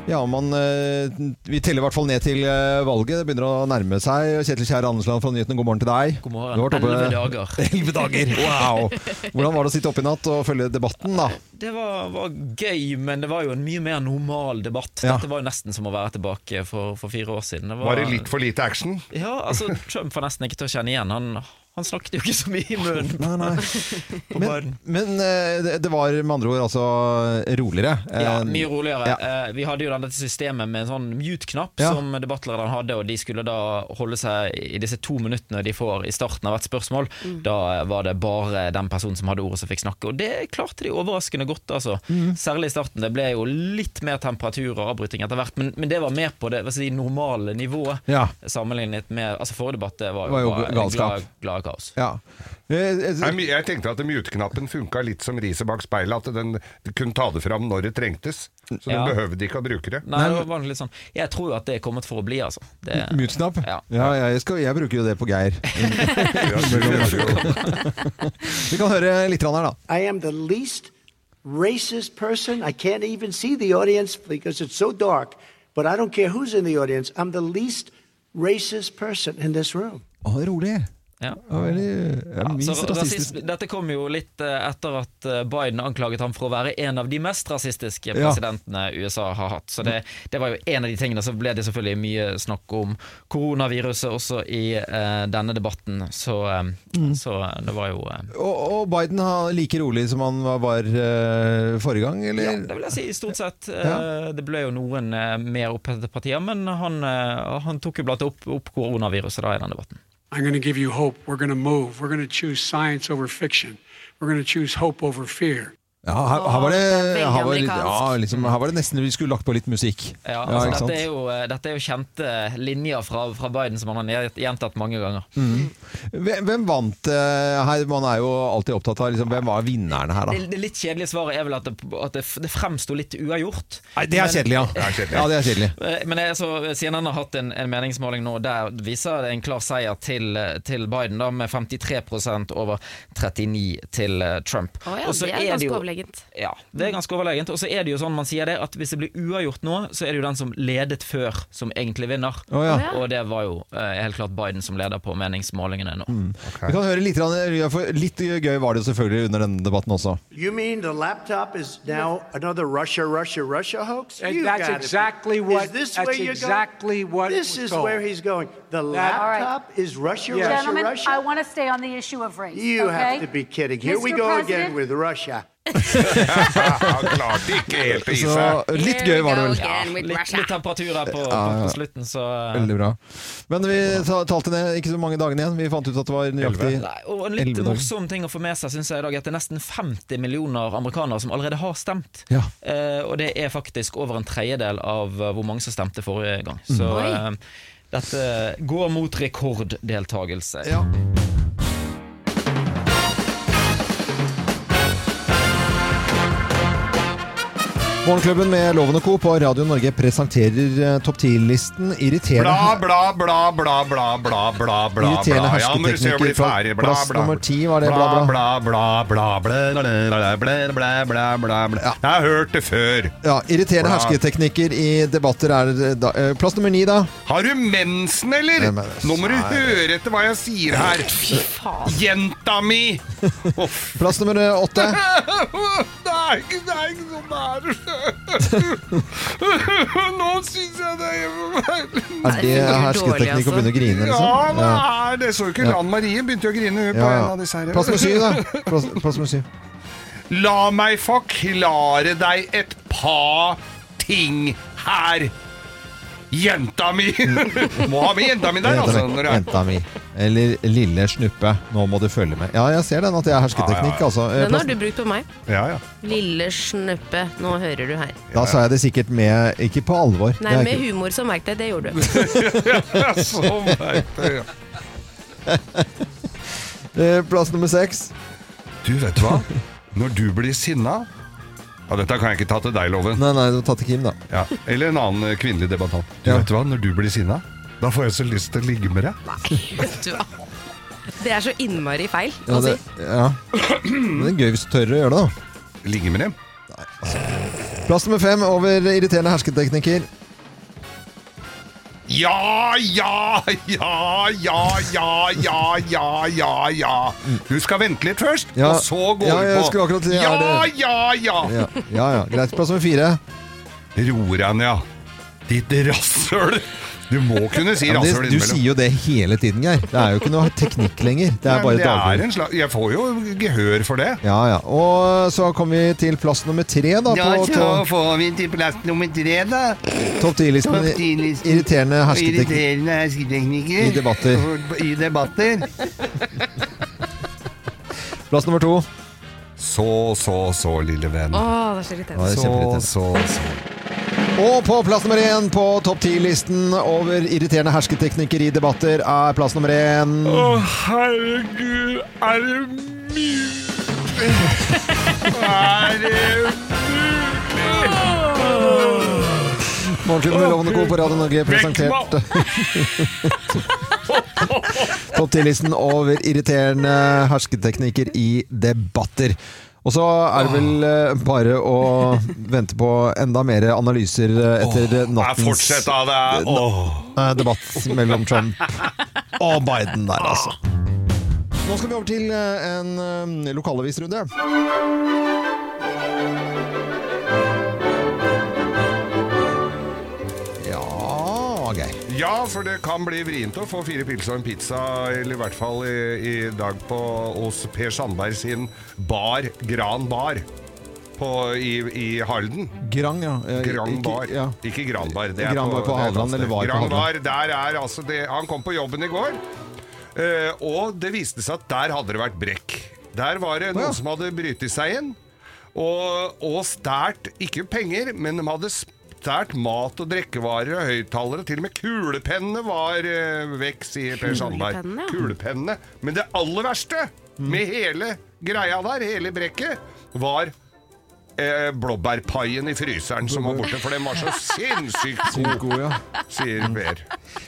[SPEAKER 3] Ja, man, eh, Vi teller i hvert fall ned til eh, valget. Det begynner å nærme seg. Kjetil Kjær Andersland fra Nyhetene, god morgen til deg. God morgen.
[SPEAKER 16] Elleve dager.
[SPEAKER 3] Elleve dager, wow! Hvordan var det å sitte oppe i natt og følge debatten, da?
[SPEAKER 16] Det var, var gøy, men det var jo en mye mer normal debatt.
[SPEAKER 3] Ja.
[SPEAKER 16] Dette var jo nesten som å være tilbake for, for fire år siden.
[SPEAKER 4] Var det litt for lite action?
[SPEAKER 16] Ja, altså Trump var nesten ikke til å kjenne igjen. Han, han snakket jo ikke så mye i munnen.
[SPEAKER 3] Nei, *laughs* nei. Men, men eh, det- det var med andre ord altså roligere.
[SPEAKER 16] Ja,
[SPEAKER 3] Eh,
[SPEAKER 16] mye roligere.
[SPEAKER 3] ja.
[SPEAKER 16] Eh, Vi hadde jo dette systemet med en sånn mute-knapp
[SPEAKER 3] Ja.
[SPEAKER 16] som debattlederen hadde, og de skulle da holde seg i disse to minuttene de får i starten av et spørsmål. Da var det bare den personen som hadde ordet som fikk snakke, og det klarte de overraskende godt, altså. Særlig i starten. Det ble jo litt mer temperatur og avbryting etter hvert, men, men det var mer på det hva skal jeg si, normale nivået
[SPEAKER 3] Ja.
[SPEAKER 16] sammenlignet med altså Forrige debatt det var jo,
[SPEAKER 3] Det var jo
[SPEAKER 16] bare
[SPEAKER 3] galskap.
[SPEAKER 16] eh, Glad, glad kaos.
[SPEAKER 3] Ja. Eh,
[SPEAKER 4] Nei, men Jeg tenkte at mute-knappen funka litt som riset bak speilet, at den kunne ta det fram når det trengtes. Så den
[SPEAKER 16] Ja.
[SPEAKER 4] behøvde ikke å bruke det.
[SPEAKER 16] Nei, det var litt sånn Jeg tror jo at det er kommet for å bli, altså. Det,
[SPEAKER 3] Muteknapp? Ja, jeg, skal, jeg bruker jo det på Geir. Vi kan høre litt grann her, da.
[SPEAKER 17] I am the least racist person. I can't even see the audience because it's so dark, but I don't care who's in the audience. I'm the least racist person in this room.
[SPEAKER 3] Å, rolig.
[SPEAKER 16] Ja.
[SPEAKER 3] Det var veldig- ja,
[SPEAKER 16] Ja, så
[SPEAKER 3] minst rasistisk.
[SPEAKER 16] rasism- dette kom jo litt eh, etter at eh, Biden anklaget ham for å være en av de mest rasistiske
[SPEAKER 3] Ja.
[SPEAKER 16] presidentene USA har hatt. Så det, det var jo en av de tingene. Så ble det selvfølgelig mye snakk om koronaviruset også i eh, denne debatten. Så, eh,
[SPEAKER 3] Mm.
[SPEAKER 16] så eh, det var jo eh,
[SPEAKER 3] Og, og Biden er like rolig som han var, var eh, forrige gang, eller?
[SPEAKER 16] Ja, det vil jeg si i stort sett. Eh, Det ble jo noen eh, mer opphetede partier, men han, eh, han tok jo blant opp, opp koronaviruset da i den debatten.
[SPEAKER 18] I'm going to give you hope. We're going to move. We're going to choose science over fiction. We're going to choose hope over fear.
[SPEAKER 3] Ja, her, her, var det,
[SPEAKER 18] veldig
[SPEAKER 3] her, var, ja,
[SPEAKER 18] amerikansk.
[SPEAKER 3] liksom, her var det nesten vi skulle lagt på litt musikk.
[SPEAKER 16] Ja,
[SPEAKER 3] Ja,
[SPEAKER 16] altså,
[SPEAKER 3] ikke sant?
[SPEAKER 16] dette, er jo, eh, dette er jo kjente linjer fra, fra Biden som han har gjentatt mange ganger.
[SPEAKER 3] Mm. Hvem, hvem vant eh, her? Man er jo alltid opptatt av liksom, hvem var vinnerne her,
[SPEAKER 16] Det,
[SPEAKER 3] da?
[SPEAKER 16] det litt kjedelige svaret er vel at det, at det, det fremsto litt uavgjort.
[SPEAKER 3] Nei, det er
[SPEAKER 16] Men- *laughs*
[SPEAKER 3] kjedelig, ja. Ja, det er kjedelig.
[SPEAKER 16] Eh, Men jeg, så, CNN har hatt en, en meningsmåling nå der viser det en klar seier til, til Biden, da, med 53 over 39 til eh, Trump.
[SPEAKER 5] Å ja,
[SPEAKER 16] Og så
[SPEAKER 5] det er ganske
[SPEAKER 16] jo-
[SPEAKER 5] overlegent.
[SPEAKER 16] Ja, det er ganske overlegent. Og så er det jo sånn man sier det, at hvis det blir uavgjort nå, så er det jo den som ledet før, som egentlig vinner.
[SPEAKER 3] Å ja.
[SPEAKER 16] Og det var jo eh, helt klart Biden som leder på meningsmålingene nå.
[SPEAKER 3] Mm. Vi kan høre litt, grann, for litt gøy var det jo selvfølgelig under denne debatten også.
[SPEAKER 17] You mean the laptop is now another Russia, Russia, Russia hoax?
[SPEAKER 19] And
[SPEAKER 17] You
[SPEAKER 19] that's
[SPEAKER 17] gotta be-
[SPEAKER 19] exactly what-
[SPEAKER 17] Is this
[SPEAKER 19] that's
[SPEAKER 17] where you're
[SPEAKER 19] exactly
[SPEAKER 17] going?
[SPEAKER 19] what
[SPEAKER 17] This
[SPEAKER 19] was
[SPEAKER 17] is
[SPEAKER 19] told.
[SPEAKER 17] where he's going. The
[SPEAKER 19] That- All right.
[SPEAKER 17] laptop is Russia,
[SPEAKER 19] Yes.
[SPEAKER 4] *laughs*
[SPEAKER 17] Russia,
[SPEAKER 20] Gentlemen,
[SPEAKER 17] Russia.
[SPEAKER 20] I want to stay on the issue of race.
[SPEAKER 17] You
[SPEAKER 20] okay?
[SPEAKER 17] have to be kidding. Here we
[SPEAKER 20] Mr.
[SPEAKER 17] go again
[SPEAKER 20] President,
[SPEAKER 17] with Russia.
[SPEAKER 4] Klarte ikke helt i
[SPEAKER 3] Så
[SPEAKER 4] seg.
[SPEAKER 3] litt gøy var det vel.
[SPEAKER 16] Ja, litt, litt temperatur her på,
[SPEAKER 3] Ja, ja.
[SPEAKER 16] på slutten, så eh,
[SPEAKER 3] Veldig bra. Men vi ta- talte ned ikke så mange dagene igjen. Vi fant ut at det var nøyaktig
[SPEAKER 16] Nei, og en litt
[SPEAKER 3] 11 dager.
[SPEAKER 16] morsom ting å få med seg synes jeg i dag, er at det er nesten 50 millioner amerikanere som allerede har stemt.
[SPEAKER 3] Ja.
[SPEAKER 16] Eh, og det er faktisk over en tredjedel av eh, hvor mange som stemte forrige gang. Så
[SPEAKER 3] Mm. Oi.
[SPEAKER 16] eh, dette går mot rekorddeltagelse.
[SPEAKER 3] Morgenklubben med Loven og Co. på Radio Norge presenterer eh, topp 10-listen irriterende
[SPEAKER 4] Bla, bla, bla, bla, bla, bla, bla, bla,
[SPEAKER 3] Irriterende
[SPEAKER 4] bla. Ja, må du se å
[SPEAKER 3] hersketeknikker
[SPEAKER 4] bli
[SPEAKER 3] fra
[SPEAKER 4] ferdig. Bla,
[SPEAKER 3] plass
[SPEAKER 4] bla.
[SPEAKER 3] nummer 10 var det, bla, bla.
[SPEAKER 4] Bla, bla, bla, bla, bla, bla, bla, bla, bla, bla, bla. Jeg har hørt det før.
[SPEAKER 3] Ja, irriterende
[SPEAKER 4] Bla.
[SPEAKER 3] hersketeknikker i debatter er eh, da, eh, Plass nummer ni, da.
[SPEAKER 4] Har du mensen, eller?
[SPEAKER 3] Nei, men det-
[SPEAKER 4] Nå må du
[SPEAKER 3] Nei.
[SPEAKER 4] høre etter hva jeg sier her. Jenta
[SPEAKER 3] *laughs*
[SPEAKER 4] mi!
[SPEAKER 3] Plass nummer eh, åtte.
[SPEAKER 4] Det er ikke, det er ikke sånn det er. Nå syns jeg det
[SPEAKER 3] Er det hersketeknikk å begynne å grine,
[SPEAKER 4] Ja,
[SPEAKER 3] liksom?
[SPEAKER 4] det
[SPEAKER 3] Ja.
[SPEAKER 4] er det. Så du ikke
[SPEAKER 3] Ja.
[SPEAKER 4] Lan Marie begynte jo å grine hun, på
[SPEAKER 3] Ja,
[SPEAKER 4] en av disse
[SPEAKER 3] ja.
[SPEAKER 4] her.
[SPEAKER 3] Plass nummer syv,
[SPEAKER 4] *laughs*
[SPEAKER 3] da. Plass, plass nummer syv.
[SPEAKER 4] La meg forklare deg et par ting her. Jenta *laughs* mi! Må ha med jenta mi der, altså. Når det
[SPEAKER 3] Eh,
[SPEAKER 4] er.
[SPEAKER 3] Jenta mi. Eller lille snuppe, nå må du følge med. Ja, jeg ser den at det er hersketeknikk, altså. Eh,
[SPEAKER 5] Den har
[SPEAKER 3] plass-
[SPEAKER 5] du brukt på meg.
[SPEAKER 4] Ja, *laughs* ja.
[SPEAKER 5] Lille snuppe, nå hører du her.
[SPEAKER 3] Da sa jeg det sikkert med Ikke på alvor.
[SPEAKER 5] Nei,
[SPEAKER 3] Det er
[SPEAKER 5] med
[SPEAKER 3] ikke-
[SPEAKER 5] humor så merk deg, det
[SPEAKER 3] *laughs*
[SPEAKER 5] gjorde du.
[SPEAKER 4] Så merkelig, ja.
[SPEAKER 3] Eh, Plass nummer seks.
[SPEAKER 4] Du, vet du hva? Når du blir sinna ja, Dette kan jeg ikke ta til deg, Loven.
[SPEAKER 3] Nei, nei, ta til Kim, da.
[SPEAKER 4] Ja. Eller en annen eh, kvinnelig debattant. Du vet du hva, når du blir sinna, da får jeg så lyst til å ligge med deg.
[SPEAKER 5] Vet du hva? Det er så innmari feil
[SPEAKER 3] Ja,
[SPEAKER 5] å si.
[SPEAKER 3] det, ja. Men det er gøy hvis du tør å gjøre det, da.
[SPEAKER 4] Ligge med dem?
[SPEAKER 3] Nei, altså. Plass nummer fem over irriterende hersketeknikker.
[SPEAKER 4] Ja, ja, ja, ja, ja, ja, ja, ja, ja. Du skal vente litt først,
[SPEAKER 3] Ja.
[SPEAKER 4] og så går
[SPEAKER 3] Ja,
[SPEAKER 4] du
[SPEAKER 3] jeg
[SPEAKER 4] på.
[SPEAKER 3] skulle akkurat si,
[SPEAKER 4] ja,
[SPEAKER 3] er det-
[SPEAKER 4] ja, ja,
[SPEAKER 3] Ja, ja, ja. Greit. Plass nummer fire.
[SPEAKER 4] Roran, ja. Ditt rasshøl. Du må kunne si
[SPEAKER 3] Ja, men
[SPEAKER 4] rasshøl
[SPEAKER 3] det, du
[SPEAKER 4] innimellom.
[SPEAKER 3] sier jo det hele tiden, Geir. Det er jo ikke noe teknikk lenger. Det er
[SPEAKER 4] Men
[SPEAKER 3] bare
[SPEAKER 4] det er
[SPEAKER 3] daglig.
[SPEAKER 4] en slags Jeg får jo gehør for det.
[SPEAKER 3] Ja, ja. Og så kom vi til plass nummer tre, da. På to-
[SPEAKER 4] får vi til plass nummer tre, da.
[SPEAKER 3] topp ti-listen.
[SPEAKER 4] Topp 10-listen.
[SPEAKER 3] Irriterende hersketeknikk.
[SPEAKER 4] Irriterende hersketeknikker.
[SPEAKER 3] I debatter.
[SPEAKER 4] I debatter.
[SPEAKER 3] Plass nummer to.
[SPEAKER 4] Så, så, så, lille venn.
[SPEAKER 5] Åh, det er så irriterende.
[SPEAKER 3] Ja, det er kjempeirriterende.
[SPEAKER 4] så, så.
[SPEAKER 3] Og på plass nummer én på topp ti-listen over irriterende hersketeknikker i debatter er plass nummer én
[SPEAKER 4] herregud, er
[SPEAKER 3] *laughs*
[SPEAKER 4] det mulig? Er det mulig?
[SPEAKER 3] Morgenklubben med Lovende Co. på Radio Norge presenterte topp ti-listen over irriterende hersketeknikker i debatter. Og så er det vel eh, bare å vente på enda mer analyser eh, etter nattens
[SPEAKER 4] fortsett av det. Åh.
[SPEAKER 3] eh, debatt mellom Trump og Biden der, altså. Nå skal vi over til eh, en eh, lokalavisrunde. Ja, Geir.
[SPEAKER 4] Ja, for det kan bli vrient å få fire pils og en pizza, eller i hvert fall i, i dag på, hos Per Sandberg sin bar, Gran Bar, på, i, i Halden.
[SPEAKER 3] Grang, ja. Eh,
[SPEAKER 4] Gran
[SPEAKER 3] ikke-
[SPEAKER 4] Bar.
[SPEAKER 3] ja.
[SPEAKER 4] Ikke Gran Bar. det er
[SPEAKER 3] Gran Bar på
[SPEAKER 4] det er et
[SPEAKER 3] Hadeland,
[SPEAKER 4] annet
[SPEAKER 3] eller
[SPEAKER 4] sted.
[SPEAKER 3] var på
[SPEAKER 4] Gran Bar,
[SPEAKER 3] Hadeland?
[SPEAKER 4] der er altså det, Han kom på jobben i går, eh, og det viste seg at der hadde det vært brekk. Der var det noen som hadde brytet seg inn, og, og stært, ikke penger, men de hadde stært mat og drikkevarer og høyttalere. Til og med kulepennene var eh, vekk, sier Per Sandberg.
[SPEAKER 11] Kulepennene, ja.
[SPEAKER 4] Kulepennene. Men det aller verste med hele greia der, hele brekket, var eh, blåbærpaien i fryseren som var borte, for den var
[SPEAKER 11] *laughs*
[SPEAKER 4] så sinnssykt god,
[SPEAKER 3] Sykt god, ja.
[SPEAKER 4] sier Per.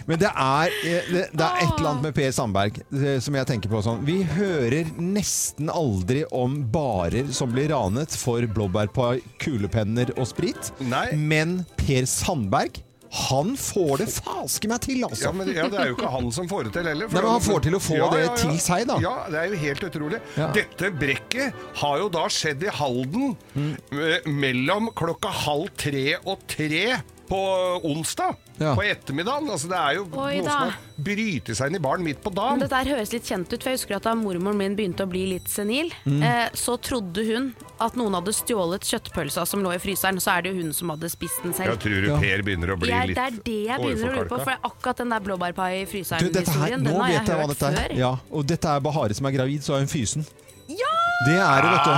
[SPEAKER 3] Men det er, eh, det, det er et eller annet med Per Sandberg eh, som jeg tenker på sånn. Vi hører nesten aldri om barer som blir ranet for blåbærpai, kulepenner og sprit. Men Per Sandberg, han får det faske meg til, altså!
[SPEAKER 4] Ja, men ja, det er jo ikke han som får det til heller. for
[SPEAKER 3] Nei, men han får til å få
[SPEAKER 4] Ja,
[SPEAKER 3] det
[SPEAKER 4] ja, ja.
[SPEAKER 3] til seg, da.
[SPEAKER 4] Ja, det er jo helt utrolig. Dette brekket har jo da skjedd i Halden eh, mellom klokka halv tre og tre på onsdag.
[SPEAKER 3] Ja.
[SPEAKER 4] På ettermiddagen. Altså, det er jo
[SPEAKER 5] Oi,
[SPEAKER 4] noe
[SPEAKER 5] da.
[SPEAKER 4] som har brytet seg inn i baren midt på dagen.
[SPEAKER 5] Men dette her høres litt kjent ut, for jeg husker at da mormoren min begynte å bli litt senil,
[SPEAKER 4] Mm.
[SPEAKER 5] eh, så trodde hun at noen hadde stjålet kjøttpølsa som lå i fryseren, så er det jo hun som hadde spist den selv.
[SPEAKER 4] Jeg tror du Per begynner å bli
[SPEAKER 5] Jeg-
[SPEAKER 4] litt
[SPEAKER 5] Det er det jeg begynner å lure på,
[SPEAKER 4] overforkalka.
[SPEAKER 5] for det er akkurat den der blåbærpai i
[SPEAKER 3] Du, dette her,
[SPEAKER 5] fryseren-historien, den
[SPEAKER 3] nå
[SPEAKER 5] har jeg
[SPEAKER 3] vet jeg hva
[SPEAKER 5] hørt
[SPEAKER 3] dette er.
[SPEAKER 5] før.
[SPEAKER 3] Ja, og dette er Bahare som er gravid, så er hun fysen.
[SPEAKER 5] Ja!
[SPEAKER 3] Det er det, vet du.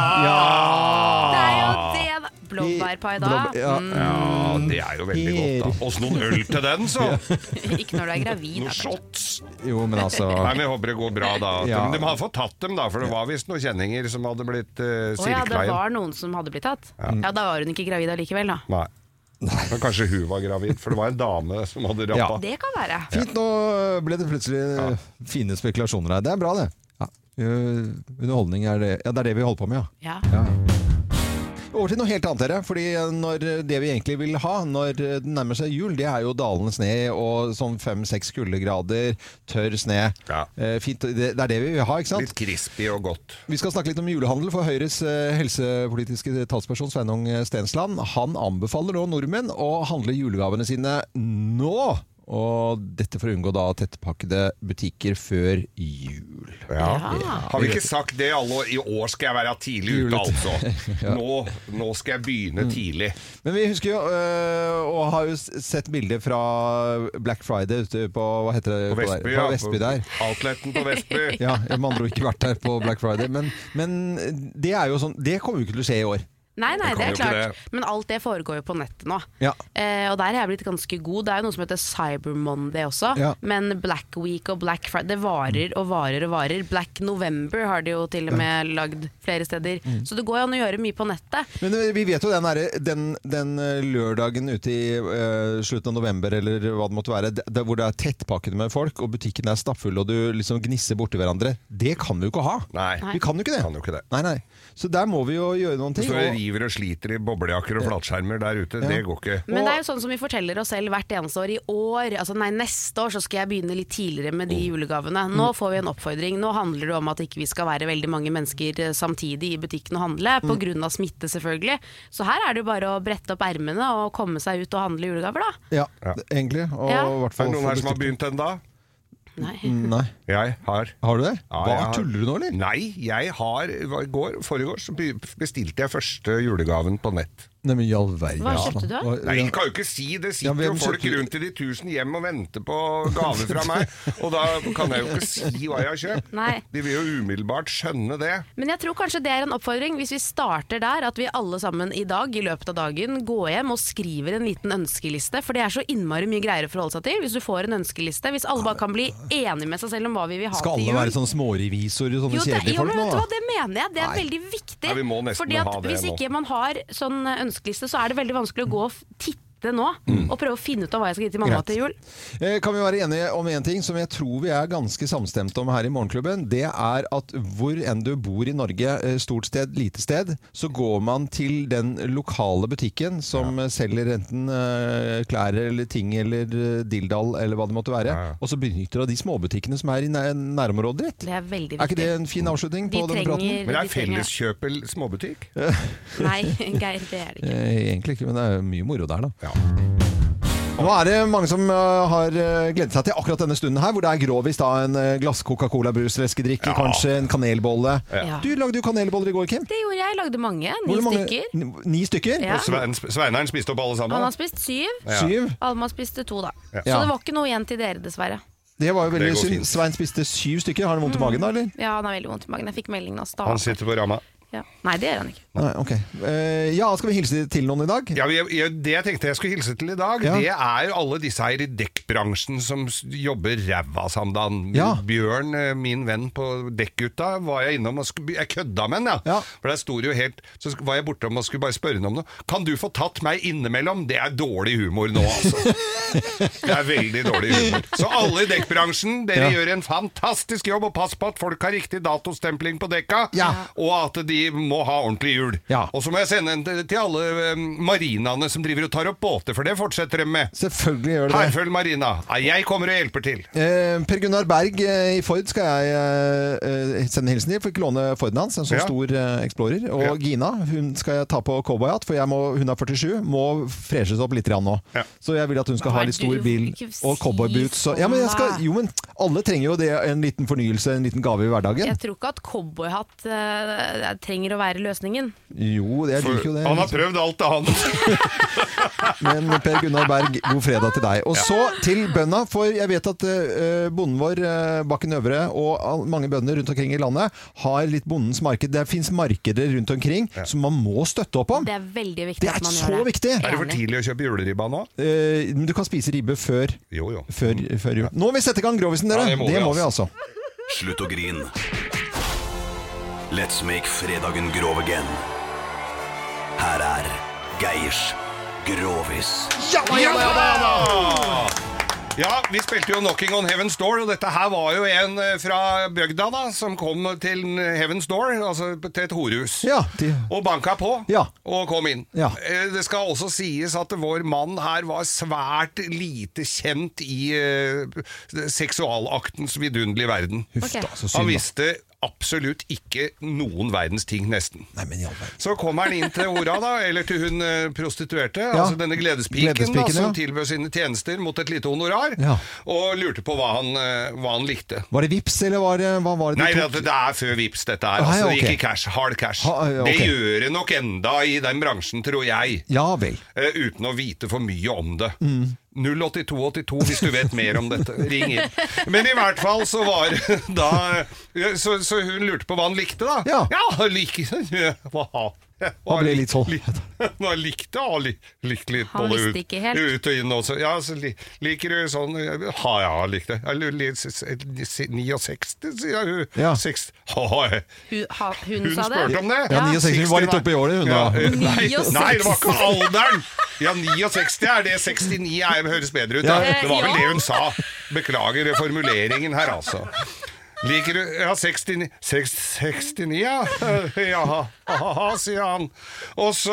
[SPEAKER 5] Det er jo
[SPEAKER 3] Ja!
[SPEAKER 5] det da. Blåbærpai da.
[SPEAKER 3] Blåbær- ja.
[SPEAKER 5] Mm.
[SPEAKER 4] Ja, det er jo veldig godt, da. Åssen noen øl til den,
[SPEAKER 3] *laughs*
[SPEAKER 4] så!
[SPEAKER 5] *laughs* Ikke når du er gravid.
[SPEAKER 4] Noen
[SPEAKER 5] da,
[SPEAKER 4] shots.
[SPEAKER 3] Jo, men altså
[SPEAKER 4] Nei, men Jeg håper det går bra, da. At
[SPEAKER 3] Ja.
[SPEAKER 4] De, de har fått tatt dem, da, for det var visst noen kjenninger som hadde blitt uh,
[SPEAKER 5] Å ja, det
[SPEAKER 4] silkleien.
[SPEAKER 5] var noen som hadde blitt tatt. Ja, da var hun ikke gravid allikevel, da.
[SPEAKER 4] Nei. Men kanskje hun var gravid, for det var en dame som hadde rappa.
[SPEAKER 5] Det kan være.
[SPEAKER 3] Fint, nå øh, ble det plutselig eh, fine spekulasjoner her. Det er bra, det. Ja. Eh, Underholdning er det Ja, det er det vi holder på med, ja.
[SPEAKER 5] Ja.
[SPEAKER 3] Over til noe helt annet, dere. Fordi øh, når det vi egentlig vil ha når øh, det nærmer seg jul, det er jo dalende sne og sånn fem-seks kuldegrader, tørr sne. Eh, Fint, det, det er det vi vil ha, ikke sant?
[SPEAKER 4] Litt crispy og godt.
[SPEAKER 3] Vi skal snakke litt om julehandel, for Høyres eh, helsepolitiske talsperson Sveinung eh, Stensland han anbefaler nå nordmenn å handle julegavene sine nå. Og dette for å unngå da tettpakkede butikker før jul.
[SPEAKER 4] Har vi ikke sagt det alle år? I år skal jeg være tidlig ute, *laughs* altså.
[SPEAKER 3] Ja.
[SPEAKER 4] Nå, nå skal jeg begynne tidlig.
[SPEAKER 3] Men vi husker jo, øh, og har jo s- sett bilder fra Black Friday ute på hva heter det?
[SPEAKER 4] På Vestby,
[SPEAKER 3] der, på Vestby der.
[SPEAKER 4] Outleten på Vestby. *laughs*
[SPEAKER 3] Ja, jeg har med andre ord ikke vært der på Black Friday. Men, men det er jo sånn, det kommer jo ikke til å skje i år.
[SPEAKER 5] Nei, nei,
[SPEAKER 3] Det kan
[SPEAKER 5] det er
[SPEAKER 3] jo ikke
[SPEAKER 5] klart. Men alt det foregår jo på nettet nå.
[SPEAKER 3] Ja.
[SPEAKER 5] Eh, og der er jeg blitt ganske god. Det er jo noe som heter Cyber Monday også.
[SPEAKER 3] Ja.
[SPEAKER 5] Men Black Week og Black Friday Det varer og varer og varer. Black November har de jo til og med lagd flere steder.
[SPEAKER 3] Mm.
[SPEAKER 5] Så det går jo an å gjøre mye på nettet.
[SPEAKER 3] Men eh, vi vet jo den, derre- den, den eh, lørdagen ute i eh, slutten av november eller hva det måtte være, d- der, hvor det er tettpakket med folk og butikken er stappfull og du liksom gnisser borti hverandre. Det kan vi jo ikke ha.
[SPEAKER 4] Nei.
[SPEAKER 3] Vi kan jo ikke det. Nei, nei. Så der må vi jo gjøre noen ting.
[SPEAKER 4] Så
[SPEAKER 3] og-
[SPEAKER 4] river og sliter i boblejakker og flatskjermer der ute. Det går ikke.
[SPEAKER 5] Men det er jo sånn som vi forteller oss selv hvert eneste år. I år, altså nei, neste år så skal jeg begynne litt tidligere med de
[SPEAKER 3] Mm.
[SPEAKER 5] julegavene. Nå får vi en oppfordring. Nå handler det om at ikke vi skal være veldig mange mennesker eh, samtidig i butikken og handle,
[SPEAKER 3] Mm.
[SPEAKER 5] pga. smitte selvfølgelig. Så her er det jo bare å brette opp ermene og komme seg ut og handle julegaver, da.
[SPEAKER 3] Ja, egentlig. Og
[SPEAKER 5] Ja.
[SPEAKER 3] i hvert
[SPEAKER 4] Er
[SPEAKER 3] fall
[SPEAKER 4] det noen
[SPEAKER 3] få
[SPEAKER 4] her som har
[SPEAKER 3] bestilt-
[SPEAKER 4] begynt ennå?
[SPEAKER 5] Nei.
[SPEAKER 3] Nei.
[SPEAKER 4] Jeg har.
[SPEAKER 3] Har du det? Hva,
[SPEAKER 4] jeg har-
[SPEAKER 3] tuller du nå, eller?
[SPEAKER 4] Nei, jeg har hva- I går, forrige år så be- bestilte jeg første julegaven på nett.
[SPEAKER 3] Nei, men i all verden. Hva-
[SPEAKER 4] Nei,
[SPEAKER 3] ja.
[SPEAKER 4] jeg kan jo ikke si det.
[SPEAKER 3] Ja,
[SPEAKER 4] Sitter
[SPEAKER 3] hvem
[SPEAKER 4] jo folk
[SPEAKER 3] kjøpte-
[SPEAKER 4] rundt i de tusen hjem og venter på gave fra meg, og da kan jeg jo ikke si hva jeg har kjøpt.
[SPEAKER 5] Nei.
[SPEAKER 4] De vil jo umiddelbart skjønne det.
[SPEAKER 5] Men jeg tror kanskje det er en oppfordring hvis vi starter der, at vi alle sammen i dag i løpet av dagen går hjem og skriver en liten ønskeliste. For det er så innmari mye greier å forholde seg til hvis du får en ønskeliste. Hvis alle bare kan bli enige med seg selv om hva vi vil ha
[SPEAKER 3] Skal
[SPEAKER 5] til
[SPEAKER 3] alle
[SPEAKER 5] jul.
[SPEAKER 3] være sånne smårevisorer, sånne
[SPEAKER 5] Jo, det,
[SPEAKER 3] kjedelige
[SPEAKER 5] jo,
[SPEAKER 3] folk
[SPEAKER 5] men
[SPEAKER 3] nå?
[SPEAKER 5] vet
[SPEAKER 3] da?
[SPEAKER 5] du hva, det mener jeg. Det er
[SPEAKER 3] Nei.
[SPEAKER 5] veldig viktig.
[SPEAKER 3] Nei, vi må nesten
[SPEAKER 5] Fordi at
[SPEAKER 3] ha det
[SPEAKER 5] Hvis
[SPEAKER 3] nå.
[SPEAKER 5] eh, ikke man har sånn ønskeliste, så er det veldig vanskelig å gå og f- titte sitte nå og prøve å finne ut av hva jeg skal gi til mamma
[SPEAKER 3] Mm. Greit.
[SPEAKER 5] til jul.
[SPEAKER 3] Eh, Kan vi være enige om én ting som jeg tror vi er ganske samstemte om her i Morgenklubben? Det er at hvor enn du bor i Norge, eh, stort sted, lite sted, så går man til den lokale butikken som eh, selger enten eh, klær eller ting eller eh, dilldall eller hva det måtte være, og så benytter du av de småbutikkene som er i næ- nærområdet ditt.
[SPEAKER 5] Det er veldig viktig.
[SPEAKER 3] Er ikke det en fin avslutning
[SPEAKER 5] De
[SPEAKER 3] på denne praten?
[SPEAKER 5] trenger- Men er de trenger-
[SPEAKER 4] Felleskjøpel småbutikk?
[SPEAKER 5] Nei, *laughs* Geir, det er det ikke.
[SPEAKER 3] Eh, Egentlig ikke, men det er mye moro der, da. Nå er det mange som eh, har eh, gledet seg til akkurat denne stunden her, hvor det er grovis da en eh, glass Coca-Cola-brus, leskedrikk, kanskje en kanelbolle.
[SPEAKER 5] Ja.
[SPEAKER 3] Du lagde jo kanelboller i går, Kim.
[SPEAKER 5] Det gjorde jeg. Lagde mange.
[SPEAKER 3] Hvor
[SPEAKER 5] Ni
[SPEAKER 3] mange-
[SPEAKER 5] stykker.
[SPEAKER 3] N- Ni stykker?
[SPEAKER 5] Ja. Og Svein-
[SPEAKER 4] Sveineren spiste opp alle
[SPEAKER 5] Han har spist syv.
[SPEAKER 3] Ja. Syv?
[SPEAKER 5] Alma spiste to, da.
[SPEAKER 3] Ja.
[SPEAKER 5] Så det var ikke noe igjen til dere, dessverre.
[SPEAKER 3] Det var jo
[SPEAKER 4] Det
[SPEAKER 3] veldig
[SPEAKER 4] går
[SPEAKER 3] synd.
[SPEAKER 4] fint. Mm.
[SPEAKER 3] Svein spiste syv stykker. Har han vondt i magen da, eller?
[SPEAKER 5] Ja, han har veldig vondt i magen. Jeg fikk meldingen av
[SPEAKER 4] Han
[SPEAKER 5] Stavanger.
[SPEAKER 4] sitter på ramma.
[SPEAKER 5] Ja. Nei, det gjør han ikke.
[SPEAKER 3] Nei, ok. Eh, ja, skal vi hilse til noen i dag?
[SPEAKER 4] Ja, jeg, jeg, det jeg tenkte jeg skulle hilse til i dag,
[SPEAKER 3] Ja.
[SPEAKER 4] det er alle disse her i dekkbransjen som s- jobber ræva sammen. Da.
[SPEAKER 3] Ja.
[SPEAKER 4] Bjørn, eh, min venn på Dekkgutta, var jeg innom og skulle, by- jeg kødda med han, ja. For der sto det jo helt Så sk- var jeg bortom og skulle bare spørre han om noe. Kan du få tatt meg innimellom? Det er dårlig humor nå, altså. Det er veldig dårlig humor. Så alle i dekkbransjen,
[SPEAKER 3] Ja.
[SPEAKER 4] dere gjør en fantastisk jobb, og pass på at folk har riktig datostempling på dekka, og at de må ha ordentlig hjul. Og så må jeg sende en til til alle eh, marinaene som driver og tar opp båter, for det fortsetter de med.
[SPEAKER 3] Selvfølgelig gjør det det.
[SPEAKER 4] Herfølg Marina. Ja, Jeg kommer og hjelper til.
[SPEAKER 3] Eh, per Gunnar Berg eh, i Ford skal jeg eh, eh, sende hilsen til. Fikk låne Forden hans, en så
[SPEAKER 4] Ja.
[SPEAKER 3] stor eh, Explorer. Og Gina hun skal jeg ta på cowboyhatt, for jeg må, hun er 47, må freshes opp litt grann nå. Så jeg vil at hun skal
[SPEAKER 4] Hva
[SPEAKER 3] ha
[SPEAKER 4] er
[SPEAKER 3] litt stor
[SPEAKER 4] du-
[SPEAKER 3] bil
[SPEAKER 4] ikke si
[SPEAKER 3] og cowboyboots. og- Ja, men jeg skal,
[SPEAKER 5] sånn, da.
[SPEAKER 3] jo, men alle trenger jo det. En liten fornyelse, en liten gave i hverdagen.
[SPEAKER 5] Jeg tror ikke at cowboyhatt eh, trenger å være løsningen.
[SPEAKER 3] Jo, jeg liker jo det.
[SPEAKER 4] Han har prøvd alt det *laughs* han.
[SPEAKER 3] Men Per Gunnar Berg, god fredag til deg. Og så til bønda, for jeg vet at eh, bonden vår, eh, Bakken Øvre, og all- mange bønder rundt omkring i landet har litt bondens marked. Det fins markeder rundt omkring som man må støtte opp om.
[SPEAKER 5] Det er veldig viktig
[SPEAKER 3] Det er
[SPEAKER 5] at man
[SPEAKER 3] så
[SPEAKER 5] gjør det.
[SPEAKER 3] viktig!
[SPEAKER 5] Er det for Enig.
[SPEAKER 4] tidlig å kjøpe juleribba nå?
[SPEAKER 3] Eh, Men du kan spise ribbe før, før, før jul. Nå må vi sette i gang grovisen, dere!
[SPEAKER 14] Ja,
[SPEAKER 3] Mm. det må, vi, altså.
[SPEAKER 14] Slutt å grin. Let's make fredagen grov again. Her er Geirs Grovis.
[SPEAKER 4] Ja, vi spilte jo 'Knocking on Heaven's Door', og dette her var jo en eh, fra bygda da, som kom til Heaven's Door, altså til et horehus. Og banka på, og kom inn.
[SPEAKER 3] Ja.
[SPEAKER 4] Eh, Det skal også sies at vår mann her var svært lite kjent i eh, seksualaktens vidunderlige verden.
[SPEAKER 3] Huff da, så synd da.
[SPEAKER 4] Han visste absolutt ikke noen verdens ting, nesten. så kom han inn til hora, da, eller til hun eh, prostituerte,
[SPEAKER 3] Ja.
[SPEAKER 4] altså denne gledespiken,
[SPEAKER 3] Gledespiken,
[SPEAKER 4] da, som
[SPEAKER 3] ja.
[SPEAKER 4] tilbød sine tjenester mot et lite honorar,
[SPEAKER 3] Ja.
[SPEAKER 4] og lurte på hva han, eh, hva han likte.
[SPEAKER 3] Var det vips, eller var det, hva var det
[SPEAKER 4] Nei,
[SPEAKER 3] de
[SPEAKER 4] det, det er før Vips dette her.
[SPEAKER 3] Ah,
[SPEAKER 4] Altså,
[SPEAKER 3] ja,
[SPEAKER 4] det
[SPEAKER 3] ok.
[SPEAKER 4] gikk i cash, hard cash.
[SPEAKER 3] Ha- ja, ok.
[SPEAKER 4] Det gjør det nok enda i den bransjen, tror jeg.
[SPEAKER 3] Ja vel.
[SPEAKER 4] eh, uten å vite for mye om det.
[SPEAKER 3] Mm.
[SPEAKER 4] 08282 hvis du vet mer om dette. Ring inn. Men i hvert fall så var *laughs* det da eh, Så, så hun lurte på hva han likte, da. Ja, han *laughs* likte hva, hva
[SPEAKER 3] Han ble litt sånn.
[SPEAKER 4] *laughs* Hva likte han? Lik, likte litt
[SPEAKER 5] Han
[SPEAKER 4] både
[SPEAKER 5] visste ikke helt.
[SPEAKER 4] ut og inn også. Ja, så li, liker du sånn Ja, ja, han likte det. Eller li- s- s- 69, sier hun. Ja.
[SPEAKER 5] Hun, ha, hun,
[SPEAKER 4] Hun
[SPEAKER 5] sa det.
[SPEAKER 4] spurte om det.
[SPEAKER 3] Ja, 69 var litt oppe i året, hun da.
[SPEAKER 4] eh, Nei,
[SPEAKER 5] 69.
[SPEAKER 4] nei, det var ikke alderen! Ja, 69 er det. 69 er, høres bedre ut. Da.
[SPEAKER 3] Ja.
[SPEAKER 4] Det var vel
[SPEAKER 3] Ja.
[SPEAKER 4] det hun sa. Beklager formuleringen her, altså. Liker du Ja, 69 seks- 69, ja. *laughs* Jaha, ha-ha, sier han. Og så,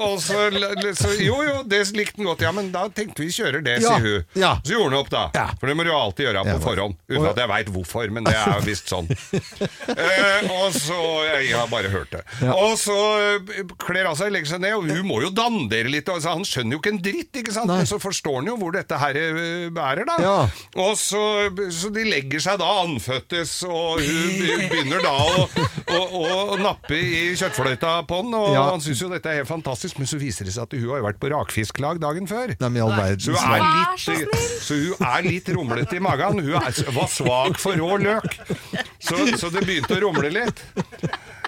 [SPEAKER 4] og så, l- l- så Jo, jo, det likte han godt. Ja, men da tenkte vi kjører det,
[SPEAKER 3] Ja,
[SPEAKER 4] sier hun. Så gjorde han opp, da. For det må du jo alltid gjøre på forhånd. Uten at jeg veit hvorfor, men det er visst sånn. Eh, og så Jeg har bare hørt det. Og så eh, kler av seg, legger seg ned, og hun må jo dandere litt. Altså, han skjønner jo ikke en dritt, ikke sant? men så forstår han jo hvor dette her eh, bærer, da.
[SPEAKER 3] Ja.
[SPEAKER 4] Og så, så de legger seg da anføttes, og hun be- begynner da å, å, å nappe i kjøttfløyta på den, og
[SPEAKER 3] Ja.
[SPEAKER 4] han syns jo dette er helt fantastisk, men så viser det seg at hun har jo vært på rakfisklag dagen før.
[SPEAKER 3] Nei, men i all verdens
[SPEAKER 4] Så hun er
[SPEAKER 3] land.
[SPEAKER 4] litt, så hun er litt rumlete i magen. Hun er, var svak for rå løk, så, så det begynte å rumle litt.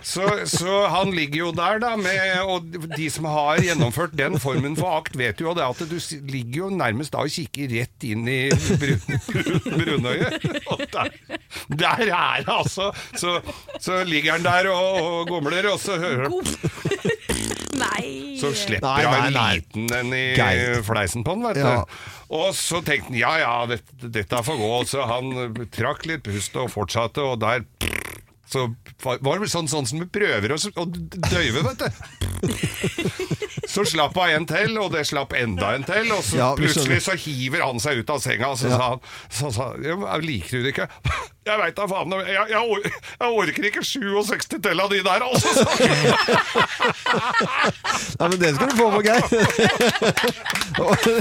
[SPEAKER 4] Så, så han ligger jo der, da, med, og de som har gjennomført den formen for akt, vet jo det at du s- ligger jo nærmest da og kikker rett inn i brun, brunøyet. Og der, der er det altså! Så, så ligger han der og, og gomler, og så hører han
[SPEAKER 5] Nei.
[SPEAKER 4] Så slipper
[SPEAKER 3] Nei, nei,
[SPEAKER 4] han
[SPEAKER 3] nei.
[SPEAKER 4] liten den i
[SPEAKER 3] Geir.
[SPEAKER 4] fleisen på den, vet
[SPEAKER 3] Ja.
[SPEAKER 4] du. Og så tenkte han ja ja, dette, dette får gå. Så han eh, trakk litt pust og fortsatte, og der så var var det vel sånn, sånn som vi prøver å s- å døyve, vet du. Så slapp hun en til, og det slapp enda en til. Og så
[SPEAKER 3] Ja, vi skjønner.
[SPEAKER 4] plutselig så hiver han seg ut av senga, og så
[SPEAKER 3] Ja.
[SPEAKER 4] sa han så, sa han, «Ja, Liker du det ikke? *laughs* Jeg veit da faen. Jeg, jeg, or- jeg orker ikke 67 til av de der, altså! sa han.
[SPEAKER 3] Nei, men det skal du få på, *laughs* Geir.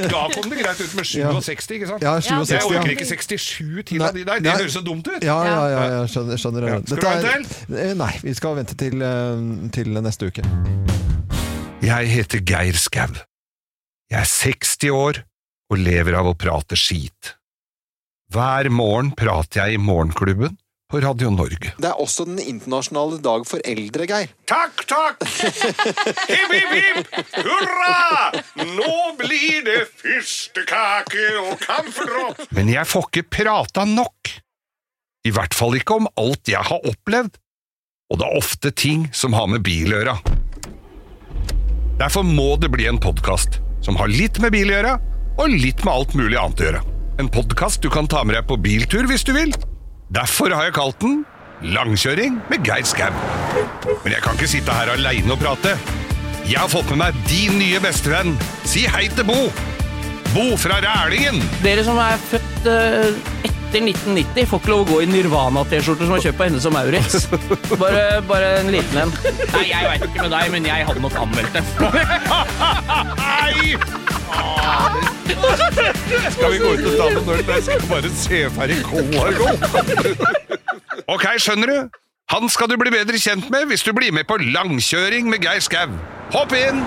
[SPEAKER 4] Men da kom det greit ut med 67, ikke sant?
[SPEAKER 3] Ja, 67,
[SPEAKER 4] jeg orker
[SPEAKER 3] ja.
[SPEAKER 4] ikke 67 til av de der. Det
[SPEAKER 3] Nei.
[SPEAKER 4] høres så dumt ut.
[SPEAKER 3] Ja, ja, ja, ja skjønner. skjønner. Dette
[SPEAKER 4] Skal du ha en
[SPEAKER 3] er- Eh, Nei, vi skal vente til, eh, til neste uke.
[SPEAKER 4] Jeg heter Geir Skau. Jeg er 60 år og lever av å prate skit. Hver morgen prater jeg i Morgenklubben på Radio Norge.
[SPEAKER 3] Det er også den internasjonale dag for eldre, Geir.
[SPEAKER 4] Takk, takk! Hipp, hipp, hipp! Hurra! Nå blir det fyrstekake og kampferdropp! Men jeg får ikke prata nok. I hvert fall ikke om alt jeg har opplevd. Og det er ofte ting som har med bil å gjøre. Derfor må det bli en podkast som har litt med bil å gjøre, og litt med alt mulig annet å gjøre. En podkast du kan ta med deg på biltur hvis du vil. Derfor har jeg kalt den Langkjøring med Geir Skau. Men jeg kan ikke sitte her aleine og prate. Jeg har fått med meg din nye bestevenn. Si hei til Bo. Bo fra Rælingen.
[SPEAKER 19] Dere som er født eh, etter 1990, får ikke lov å gå i Nirvana-T-skjorter som er kjøpt av henne som Maurits. Bare, bare en liten en. Nei, jeg veit ikke med deg, men jeg hadde nok anmeldt det.
[SPEAKER 4] Nei! Skal vi gå ut og ta noen øl? Jeg skal bare se ferdig Kolargo. Ok, skjønner du? Han skal du bli bedre kjent med hvis du blir med på langkjøring med Geir Skau. Hopp inn,